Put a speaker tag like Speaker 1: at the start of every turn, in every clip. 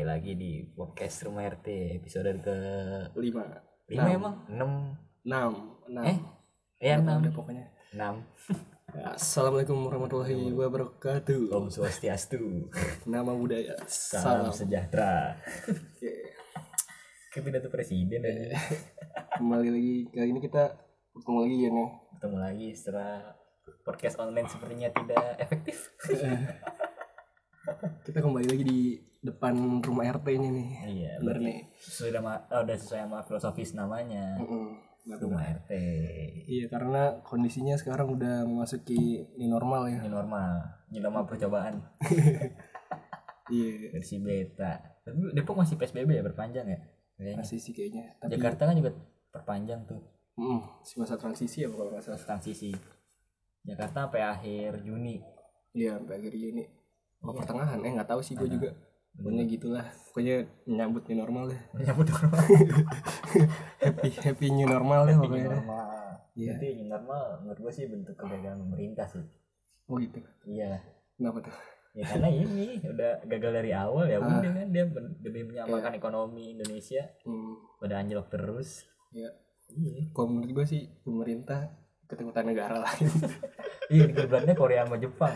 Speaker 1: lagi di podcast Rumah RT episode ke
Speaker 2: lima
Speaker 1: 5 emang 6
Speaker 2: enam enam
Speaker 1: Eh? ya
Speaker 2: Nggak tahu deh
Speaker 1: 6
Speaker 2: pokoknya Ya,
Speaker 1: 6
Speaker 2: assalamualaikum
Speaker 1: Iya.
Speaker 2: warahmatullahi wabarakatuh
Speaker 1: Om Swastiastu
Speaker 2: nama budaya
Speaker 1: Oh. salam
Speaker 2: salam
Speaker 1: sejahtera
Speaker 2: Oke.
Speaker 1: kayak pidato presiden aja
Speaker 2: kembali lagi kali ini kita ketemu lagi ya nih
Speaker 1: ketemu lagi setelah podcast online sepertinya tidak efektif
Speaker 2: kita kembali lagi di depan rumah RT ini nih
Speaker 1: iya
Speaker 2: bener
Speaker 1: berarti
Speaker 2: nih
Speaker 1: sesuai sama oh, udah sesuai sama filosofis namanya
Speaker 2: Mm-mm. Bener.
Speaker 1: Rumah RT
Speaker 2: iya karena kondisinya sekarang udah memasuki ini normal ya
Speaker 1: ini normal ini normal percobaan
Speaker 2: iya
Speaker 1: versi beta tapi Depok masih PSBB ya berpanjang ya Kayaknya.
Speaker 2: masih sih kayaknya tapi
Speaker 1: Jakarta kan juga perpanjang tuh
Speaker 2: mm, si masa transisi ya kalau nggak salah
Speaker 1: transisi Jakarta sampai akhir Juni
Speaker 2: iya sampai akhir Juni Oh,
Speaker 1: Iya.
Speaker 2: pertengahan eh nggak tahu sih gue juga pokoknya gitulah pokoknya menyambut new normal deh
Speaker 1: nyambut normal
Speaker 2: happy happy new normal
Speaker 1: Ini
Speaker 2: deh Iya, pokoknya
Speaker 1: normal
Speaker 2: Iya.
Speaker 1: Berarti ini normal menurut gue sih bentuk kegagalan pemerintah sih
Speaker 2: oh gitu
Speaker 1: iya
Speaker 2: kenapa tuh
Speaker 1: ya karena ini udah gagal dari awal ya
Speaker 2: Ah. Iya.
Speaker 1: udah kan dia ben- demi menyamakan ekonomi Indonesia
Speaker 2: hmm,
Speaker 1: pada anjlok terus
Speaker 2: Iya.
Speaker 1: iya
Speaker 2: kalau menurut gue sih pemerintah ketakutan negara lain
Speaker 1: iya kebetulannya Korea sama Jepang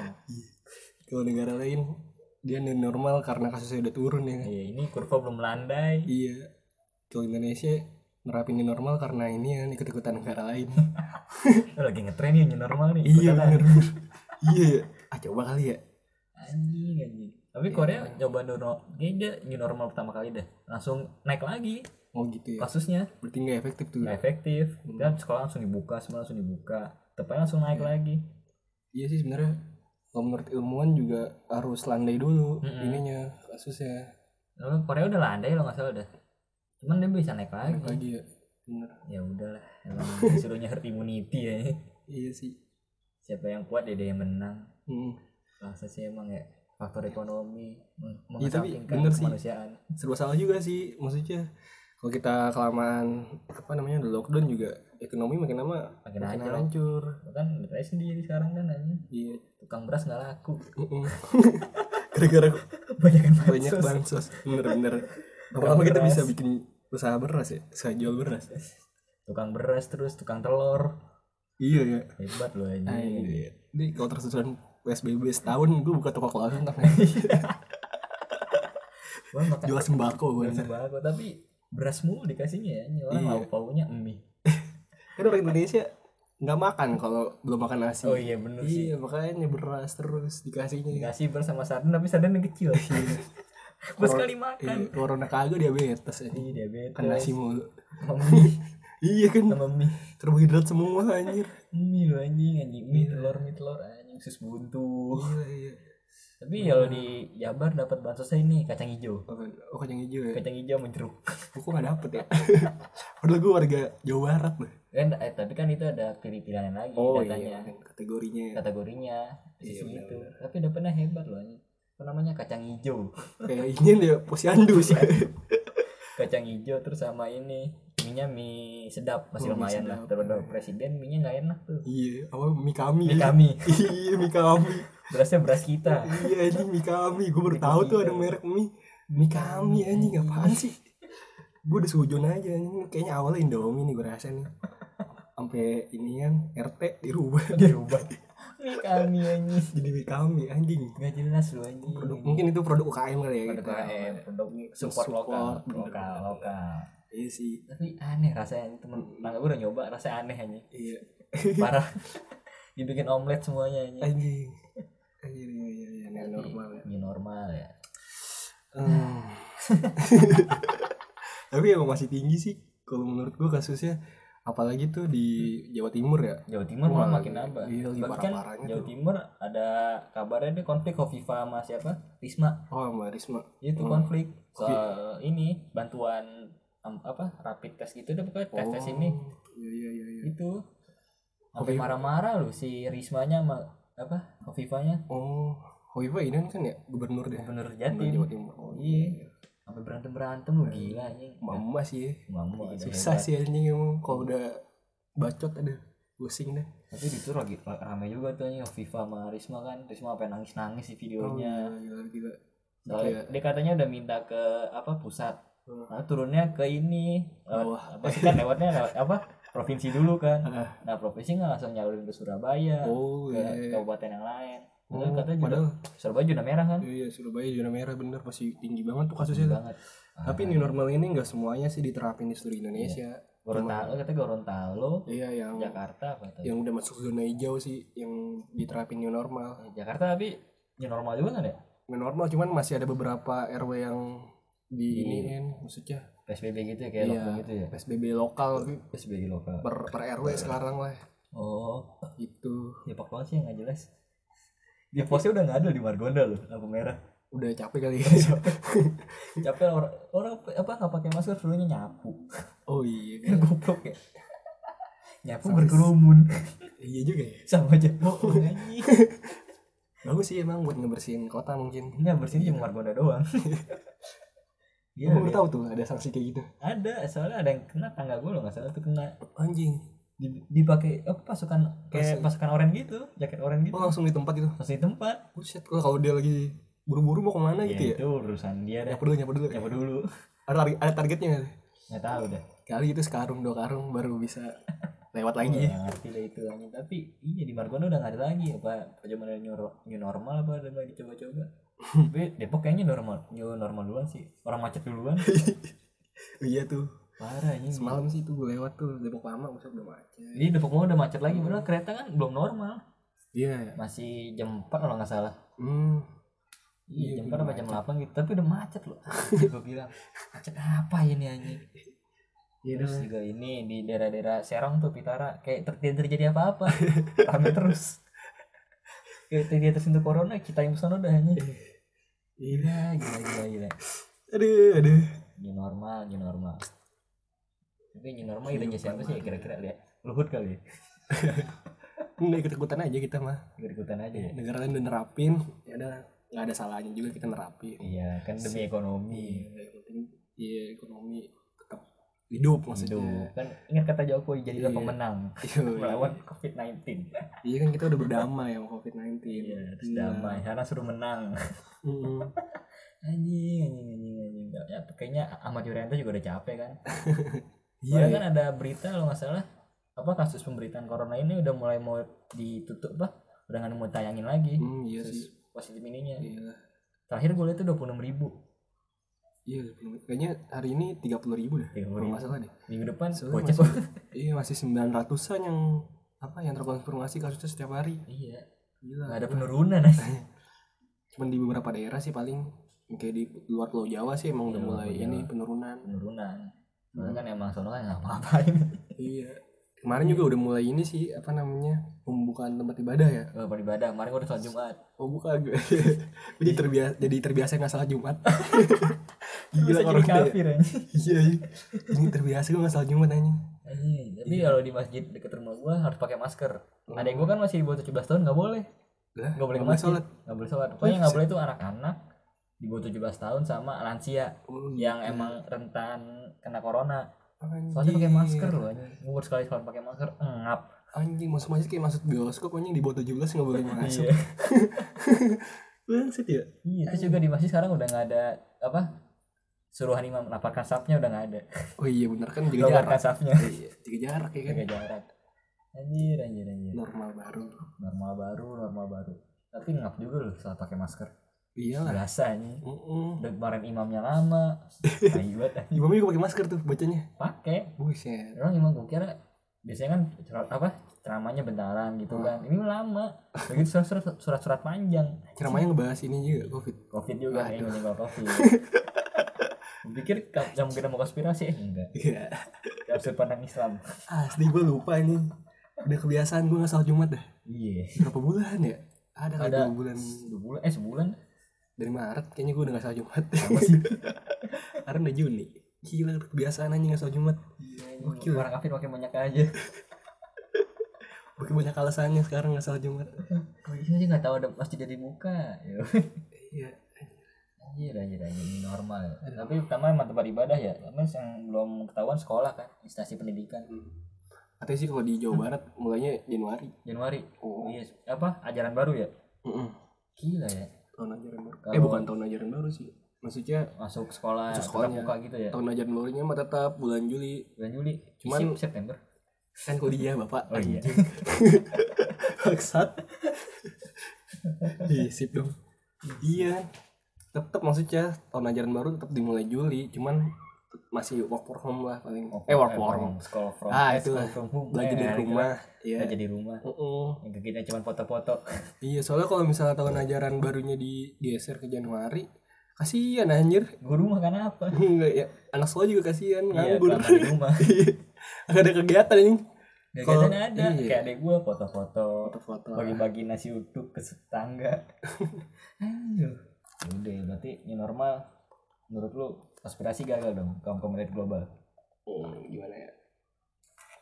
Speaker 2: kalau negara lain dia new normal karena kasusnya udah turun ya kan
Speaker 1: iya ini kurva belum melandai
Speaker 2: iya kalau Indonesia nerapin new normal karena ini kan ikut ikutan negara lain
Speaker 1: Lu lagi ngetren nih new normal nih ikutan lah.
Speaker 2: Iya, bener bener. iya ya. ah coba kali ya
Speaker 1: anjing anjing tapi
Speaker 2: Iya.
Speaker 1: Korea coba new normal dia new normal pertama kali dah langsung naik lagi
Speaker 2: oh gitu ya
Speaker 1: kasusnya
Speaker 2: berarti nggak efektif tuh
Speaker 1: nggak efektif
Speaker 2: Hmm.
Speaker 1: dan sekolah langsung dibuka semua langsung dibuka tepatnya langsung naik lagi
Speaker 2: iya sih sebenarnya kalau menurut ilmuwan juga harus landai dulu
Speaker 1: Mm-mm.
Speaker 2: ininya kasusnya
Speaker 1: lalu Korea udah landai lo nggak salah dah cuman dia bisa naik lagi
Speaker 2: lagi ya bener
Speaker 1: ya udahlah emang disuruhnya herd immunity ya
Speaker 2: iya sih
Speaker 1: siapa yang kuat dia yang menang
Speaker 2: Hmm.
Speaker 1: bangsa sih emang ya faktor ekonomi meng-
Speaker 2: Iya, tapi
Speaker 1: mengesampingkan
Speaker 2: bener sih.
Speaker 1: kemanusiaan
Speaker 2: serba salah juga sih maksudnya kalau kita kelamaan apa namanya udah lockdown juga ekonomi makin lama
Speaker 1: makin
Speaker 2: makin
Speaker 1: aja
Speaker 2: hancur
Speaker 1: kan bener sendiri sekarang kan anjing.
Speaker 2: iya
Speaker 1: tukang beras nggak laku
Speaker 2: Mm-mm. gara-gara
Speaker 1: banyak yang
Speaker 2: banyak bansos bener-bener lama-lama kita
Speaker 1: beras.
Speaker 2: bisa bikin usaha beras ya usaha jual beras
Speaker 1: tukang beras terus tukang telur
Speaker 2: iya ya
Speaker 1: hebat loh
Speaker 2: nah,
Speaker 1: ini
Speaker 2: iya. ini kalau tersusun PSBB setahun gue buka toko kelas ntar
Speaker 1: gua makan
Speaker 2: jual sembako
Speaker 1: beras
Speaker 2: gue
Speaker 1: sembako tapi beras mulu dikasihnya ya ini orang
Speaker 2: Iya.
Speaker 1: lauk paunya mie
Speaker 2: kan orang Indonesia nggak makan kalau belum makan nasi
Speaker 1: oh iya bener sih
Speaker 2: iya makanya beras terus dikasihnya
Speaker 1: dikasih beras sama sarden tapi sarden yang kecil gua sekali makan
Speaker 2: Iya, corona kagak diabetes ya.
Speaker 1: Ih, diabetes
Speaker 2: Kan nasi mulu.
Speaker 1: sama mie
Speaker 2: Iya kan
Speaker 1: sama mie
Speaker 2: karbohidrat semua anjir.
Speaker 1: mie lo anjing anjing mie telur mie telur anjing sus buntu
Speaker 2: Gila iya.
Speaker 1: tapi kalau di Jabar dapat bansosnya ini kacang hijau
Speaker 2: Apaan? Oh kacang hijau ya.
Speaker 1: kacang hijau sama jeruk
Speaker 2: Gua kok gak dapet ya. Padahal gue warga Jawa Barat loh.
Speaker 1: kan eh, tapi kan itu ada pilihan lagi datanya
Speaker 2: kategorinya.
Speaker 1: kategorinya di
Speaker 2: Iya,
Speaker 1: situ
Speaker 2: benar,
Speaker 1: itu tapi udah pernah hebat loh ini apa namanya kacang hijau
Speaker 2: Kayak ingin ya posyandu sih.
Speaker 1: kacang hijau terus sama ini minyak mie sedap masih
Speaker 2: Oh, mie
Speaker 1: lumayan lah
Speaker 2: sedap.
Speaker 1: daripada presiden minyak nggak enak tuh
Speaker 2: Iya, apa mie kami.
Speaker 1: mie kami
Speaker 2: Iya, mie kami.
Speaker 1: berasnya beras kita
Speaker 2: Iya, ini mie kami. Gue baru
Speaker 1: Mie
Speaker 2: tahu
Speaker 1: kami,
Speaker 2: tuh ada
Speaker 1: Nah. iya.
Speaker 2: merek mie. Mie kami anjing apaan sih? Gue udah sujun aja anjing. Kayaknya awalnya Indomie nih gue rasa nih. Sampai ini kan RT dirubah
Speaker 1: dirubah mie kami anjing
Speaker 2: jadi mie kami anjing.
Speaker 1: nggak jelas loh anjing
Speaker 2: produk mungkin itu produk UKM kali ya
Speaker 1: Iya. produk
Speaker 2: kita.
Speaker 1: UKM, produk support,
Speaker 2: Support,
Speaker 1: lokal
Speaker 2: bener.
Speaker 1: lokal lokal
Speaker 2: iya sih
Speaker 1: tapi aneh rasanya temen tangga gue udah nyoba rasanya aneh anjing
Speaker 2: iya
Speaker 1: parah dibikin omelet semuanya anjing
Speaker 2: anjing anjing iya iya iya nggak normal ya
Speaker 1: ini normal ya
Speaker 2: Hmm. tapi emang masih tinggi sih kalau menurut gua kasusnya apalagi tuh di Jawa Timur ya
Speaker 1: Jawa Timur
Speaker 2: Wah,
Speaker 1: malah makin nambah.
Speaker 2: iya, lagi
Speaker 1: Bahkan
Speaker 2: parah-parahnya
Speaker 1: Jawa
Speaker 2: tuh.
Speaker 1: Timur ada kabarnya dia konflik Hovifa sama siapa? Risma.
Speaker 2: oh Mbak Risma
Speaker 1: Itu
Speaker 2: Hmm.
Speaker 1: konflik
Speaker 2: Hovi-
Speaker 1: soal ini bantuan em, apa rapid test gitu deh pokoknya tes tes
Speaker 2: Oh,
Speaker 1: ini
Speaker 2: iya iya iya ya? iya.
Speaker 1: itu sampai
Speaker 2: Hovi-
Speaker 1: marah-marah loh si Rismanya sama apa Hovifanya
Speaker 2: oh Hovifa ini kan ya gubernur deh
Speaker 1: gubernur
Speaker 2: Gubernur
Speaker 1: Jatim
Speaker 2: Jawa Timur oh
Speaker 1: Iya. sampai berantem berantem loh gila anjing
Speaker 2: mama sih ya.
Speaker 1: Mama ada
Speaker 2: susah
Speaker 1: hebat.
Speaker 2: sih anjing emang kalau udah bacot ada pusing deh
Speaker 1: tapi itu lagi
Speaker 2: Iya,
Speaker 1: rame juga tuh anjing Hovifa sama Risma kan Risma apa nangis nangis di videonya
Speaker 2: Oh, gila gila
Speaker 1: Soalnya
Speaker 2: Iya.
Speaker 1: dia katanya udah minta ke apa pusat.
Speaker 2: Hmm.
Speaker 1: Nah, turunnya ke ini lewat
Speaker 2: Bawah.
Speaker 1: apa sih kan lewatnya lewat apa provinsi dulu kan.
Speaker 2: Ah.
Speaker 1: Nah provinsi nggak langsung nyalurin ke Surabaya,
Speaker 2: oh
Speaker 1: ke
Speaker 2: iya
Speaker 1: kabupaten yang lain. Padahal
Speaker 2: Oh,
Speaker 1: katanya juga
Speaker 2: padahal
Speaker 1: Surabaya zona merah kan.
Speaker 2: iya Surabaya zona merah bener pasti tinggi banget tuh
Speaker 1: Tinggi
Speaker 2: kasusnya tuh.
Speaker 1: banget. Nah,
Speaker 2: tapi new normal ini nggak semuanya sih diterapin di seluruh Indonesia
Speaker 1: Gorontalo katanya Gorontalo,
Speaker 2: iya yang
Speaker 1: Jakarta apa tuh?
Speaker 2: yang udah masuk zona hijau sih yang diterapin new normal
Speaker 1: Eh, Jakarta tapi ya normal juga kan ya?
Speaker 2: new normal cuman masih ada beberapa RW yang
Speaker 1: Iya.
Speaker 2: di ini kan maksudnya
Speaker 1: PSBB gitu ya kayak
Speaker 2: Iya.
Speaker 1: lockdown gitu ya. Iya.
Speaker 2: PSBB lokal tapi
Speaker 1: PSBB lokal.
Speaker 2: per, per RW sekarang lah
Speaker 1: Oh,
Speaker 2: gitu
Speaker 1: nyepak banget sih yang nggak jelas. Dia posnya udah nggak ada di Margonda loh, lampu merah.
Speaker 2: udah capek kali ya
Speaker 1: Capek lah orang orang apa nggak pakai masker serunya nyapu.
Speaker 2: oh iya kan?
Speaker 1: Goblok ya. nyapu berkerumun
Speaker 2: iya juga ya
Speaker 1: sama aja bohong
Speaker 2: iya.
Speaker 1: anjing.
Speaker 2: bagus sih emang buat ngebersihin kota mungkin
Speaker 1: Nggak bersihin cuma Margonda doang. Iya,
Speaker 2: Emang lu
Speaker 1: dia-
Speaker 2: tahu tuh ada sanksi kayak gitu
Speaker 1: ada soalnya ada yang kena tangga gue loh nggak salah tuh kena
Speaker 2: anjing
Speaker 1: Di- dipakai apa pasukan kayak
Speaker 2: Pasukan.
Speaker 1: pasukan oranye gitu jaket oranye gitu
Speaker 2: oh langsung di tempat itu
Speaker 1: masih tempat
Speaker 2: buset kalau kalau dia lagi buru-buru mau kemana gitu ya
Speaker 1: itu urusan dia dah
Speaker 2: nyapu dulu nyapu dulu
Speaker 1: nyapu dulu
Speaker 2: ada, tar- ada targetnya nggak sih?
Speaker 1: nggak tahu dah
Speaker 2: kali itu sekarung dua karung baru bisa lewat lagi
Speaker 1: Nggak ngerti lah itu anjing tapi iya di Margonda udah nggak ada lagi apa zaman new, nor- new normal apa ada lagi coba-coba tapi Depok kayaknya normal new normal duluan sih orang macet duluan
Speaker 2: iya tuh
Speaker 1: parah ini
Speaker 2: semalam sih tuh gue lewat tuh Depok lama maksudnya udah macet
Speaker 1: ini Depok mah udah macet lagi padahal
Speaker 2: Hmm.
Speaker 1: kereta kan belum normal
Speaker 2: iya
Speaker 1: masih jam 4 kalau nggak salah
Speaker 2: hmm
Speaker 1: Iya,
Speaker 2: Iya,
Speaker 1: jam
Speaker 2: udah
Speaker 1: 4 apa jam 8 gitu, tapi udah macet loh. gue bilang, macet apa ini anjing?
Speaker 2: Iya
Speaker 1: Terus juga ini di daerah-daerah Serang tuh Pitara kayak ter- tidak terjadi apa-apa. Rame terus. Kayak ter- tidak tersentuh corona, kita yang pesan udah anjing.
Speaker 2: Iya,
Speaker 1: Iya, Gila, gila, gila, gila.
Speaker 2: aduh aduh
Speaker 1: New normal, new normal. Tapi new normal idenya siapa sih ya kira-kira lihat? Luhut kali ya.
Speaker 2: ini ikut-ikutan aja kita mah
Speaker 1: Ikut-ikutan aja ya.
Speaker 2: negara lain udah nerapin ya udah nggak ada salahnya juga kita nerapin
Speaker 1: Iya, kan demi ekonomi.
Speaker 2: yang penting iya ekonomi tetap hidup maksudnya
Speaker 1: Hidup. Kan ingat kata Jokowi jadilah
Speaker 2: Iya.
Speaker 1: pemenang
Speaker 2: Iya,
Speaker 1: melawan COVID-19.
Speaker 2: iya kan kita udah berdamai sama COVID-19
Speaker 1: Iya, terus damai. Karena suruh menang.
Speaker 2: Mm.
Speaker 1: Anjing, anjing, anjing, anjing. Nggak- Ya, kayaknya Ahmad Yuryanto juga udah capek kan.
Speaker 2: iya
Speaker 1: Soalnya kan ada berita kalau nggak salah apa kasus pemberitaan corona ini udah mulai mau ditutup bah udah nggak mau tayangin lagi
Speaker 2: Hmm, iya
Speaker 1: kasus
Speaker 2: sih
Speaker 1: positif ininya
Speaker 2: iya
Speaker 1: terakhir gue lihat itu dua ribu
Speaker 2: iya kayaknya hari ini 30.000 ribu
Speaker 1: Iya,
Speaker 2: dah kalau nggak salah deh
Speaker 1: minggu depan
Speaker 2: Soalnya
Speaker 1: gocap
Speaker 2: masih- iya masih 900an yang apa yang terkonfirmasi kasusnya setiap hari
Speaker 1: iya
Speaker 2: gila
Speaker 1: nggak ada penurunan anjing.
Speaker 2: cuman di beberapa daerah sih paling kayak di luar Pulau Jawa sih emang udah
Speaker 1: Iya,
Speaker 2: mulai
Speaker 1: Pulau
Speaker 2: ini
Speaker 1: Jawa.
Speaker 2: penurunan
Speaker 1: penurunan Soalnya kan emang sono kan nggak ngapain
Speaker 2: Iya. Kemarin juga udah mulai ini sih apa namanya pembukaan tempat ibadah ya.
Speaker 1: Gak apa ibadah kemarin gue udah sholat jumat
Speaker 2: Oh buka gue. Gue jadi terbiasa jadi terbiasa nggak salah Jumat. Gila
Speaker 1: Bisa jadi
Speaker 2: orang kayak.
Speaker 1: kafir anjing.
Speaker 2: Iya. iya. Ini terbiasa gue nggak salah Jumat aja.
Speaker 1: Anjing, Iya, tapi kalau di masjid deket rumah gua harus pakai masker. Ada yang gua kan masih di bawah 17 tahun nggak boleh.
Speaker 2: Lah,
Speaker 1: Nggak boleh ke
Speaker 2: nggak
Speaker 1: masjid.
Speaker 2: sholat.
Speaker 1: Nggak boleh sholat. Pokoknya nggak boleh itu anak-anak di bawah 17 tahun sama lansia
Speaker 2: Oh,
Speaker 1: yang emang rentan kena corona.
Speaker 2: anjing.
Speaker 1: Soalnya pakai masker loh anjing. Gua baru sekali sholat pakai masker, ngap.
Speaker 2: Anjing masuk masjid kayak masuk bioskop anjing di bawah 17 nggak boleh masuk.
Speaker 1: Iya.
Speaker 2: Bangset ya.
Speaker 1: Iya, terus juga di masjid sekarang udah nggak ada apa? Suruhan imam lapar kasapnya udah nggak ada.
Speaker 2: Oh iya bener kan
Speaker 1: Lapar
Speaker 2: jaga jarak.
Speaker 1: kasapnya.
Speaker 2: Iya, jaga jarak ya kan.
Speaker 1: Jaga jarak. Anjir, anjir, anjir.
Speaker 2: Normal baru.
Speaker 1: Normal baru, normal baru. Tapi ngap juga loh saat pakai masker.
Speaker 2: Iyalah.
Speaker 1: Berasa anjing.
Speaker 2: Heeh.
Speaker 1: udah kemarin imamnya lama tai banget Eh,
Speaker 2: Imamnya juga pakai masker tuh bacanya.
Speaker 1: pakai
Speaker 2: Buset.
Speaker 1: orang imam gue kira biasanya kan cer- apa ceramahnya bentaran gitu kan ini lama begitu surat-surat surat-surat panjang
Speaker 2: Ceramahnya ngebahas ini juga covid.
Speaker 1: covid juga nih meninggal covid pikir kamu kita mau konspirasi eh, enggak
Speaker 2: Iya.
Speaker 1: ya sudut pandang Islam
Speaker 2: Asli gue lupa ini Udah kebiasaan gue gak salat Jumat dah
Speaker 1: iya
Speaker 2: Berapa bulan ya? Ada kali
Speaker 1: Ada.
Speaker 2: dua bulan
Speaker 1: dua bulan eh sebulan
Speaker 2: Dari Maret kayaknya gue udah gak salat Jumat
Speaker 1: apa sih
Speaker 2: Karena udah Juni Gila udah kebiasaan aja gak salat Jumat Gokil.
Speaker 1: orang kafir makin banyak aja
Speaker 2: Makin banyak alasannya sekarang gak salat Jumat
Speaker 1: kalau ini aja Oh, iya, nggak tahu ada masjid dari muka
Speaker 2: Iya
Speaker 1: Anjir, anjir, anjir, ini normal. Tapi pertama emang tempat ibadah ya. Karena yang belum ketahuan sekolah kan, instansi pendidikan.
Speaker 2: Katanya sih kalau di Jawa Barat mulainya Januari
Speaker 1: Januari.
Speaker 2: Oh
Speaker 1: Iya, apa? Ajaran baru ya?
Speaker 2: Mm-mm.
Speaker 1: Gila ya.
Speaker 2: Tahun ajaran baru eh bukan tahun ajaran baru sih maksudnya
Speaker 1: masuk sekolah
Speaker 2: Masuk
Speaker 1: masuk
Speaker 2: sekolah ya.
Speaker 1: buka gitu ya
Speaker 2: tahun ajaran barunya mah tetap bulan Juli
Speaker 1: bulan Juli
Speaker 2: Cuman-
Speaker 1: Isip September
Speaker 2: kan kuliah bapak
Speaker 1: Oh iya.
Speaker 2: Anjing. bangsat disip dong iya tetap maksudnya tahun ajaran baru tetap dimulai Juli cuman masih work from home lah paling eh work from home
Speaker 1: sekolah Oh, from
Speaker 2: Ah,
Speaker 1: eh,
Speaker 2: itu
Speaker 1: sekolah from home
Speaker 2: belajar
Speaker 1: Eh,
Speaker 2: dari
Speaker 1: gitu.
Speaker 2: rumah iya
Speaker 1: belajar di rumah
Speaker 2: Mm-mm.
Speaker 1: yang kita cuma foto-foto
Speaker 2: iya soalnya kalau misalnya tahun ajaran barunya di geser ke Januari kasihan anjir
Speaker 1: guru makan apa
Speaker 2: Enggak ya anak sekolah juga kasihan
Speaker 1: iya
Speaker 2: nganggur
Speaker 1: karena di rumah
Speaker 2: Gak ada kegiatan ini
Speaker 1: gak
Speaker 2: Kalau-
Speaker 1: kelihatan ada
Speaker 2: iya.
Speaker 1: kayak adek gue foto-foto
Speaker 2: foto-foto
Speaker 1: bagi-bagi nasi uduk ke tetangga aduh Ya udah berarti ini normal menurut lu aspirasi gagal dong kaum komunitas global
Speaker 2: Hmm, gimana ya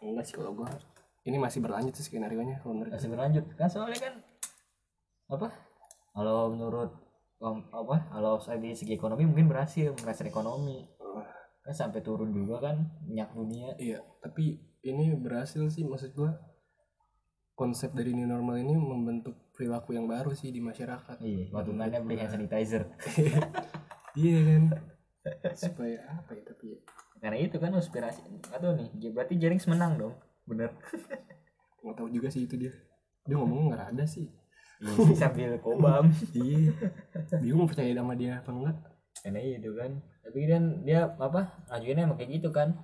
Speaker 2: enggak sih kalau gua ini masih berlanjut sih skenario nya kalau menurut gua.
Speaker 1: masih berlanjut kan soalnya kan apa kalau menurut um, apa kalau saya di segi ekonomi mungkin berhasil merasa ekonomi
Speaker 2: Oh.
Speaker 1: kan sampai turun juga kan minyak dunia
Speaker 2: iya tapi ini berhasil sih maksud gua konsep dari new normal ini membentuk perilaku yang baru sih di masyarakat
Speaker 1: iya waktu nanya beli hand sanitizer
Speaker 2: iya kan supaya apa ya tapi ya
Speaker 1: karena itu kan aspirasi atau nih j- berarti jaring menang dong bener
Speaker 2: nggak tahu juga sih itu dia dia ngomong nggak ada sih
Speaker 1: iya sih, sambil kobam
Speaker 2: iya bingung percaya sama dia apa enggak
Speaker 1: karena itu kan tapi kan dia apa lanjutinnya emang kayak gitu kan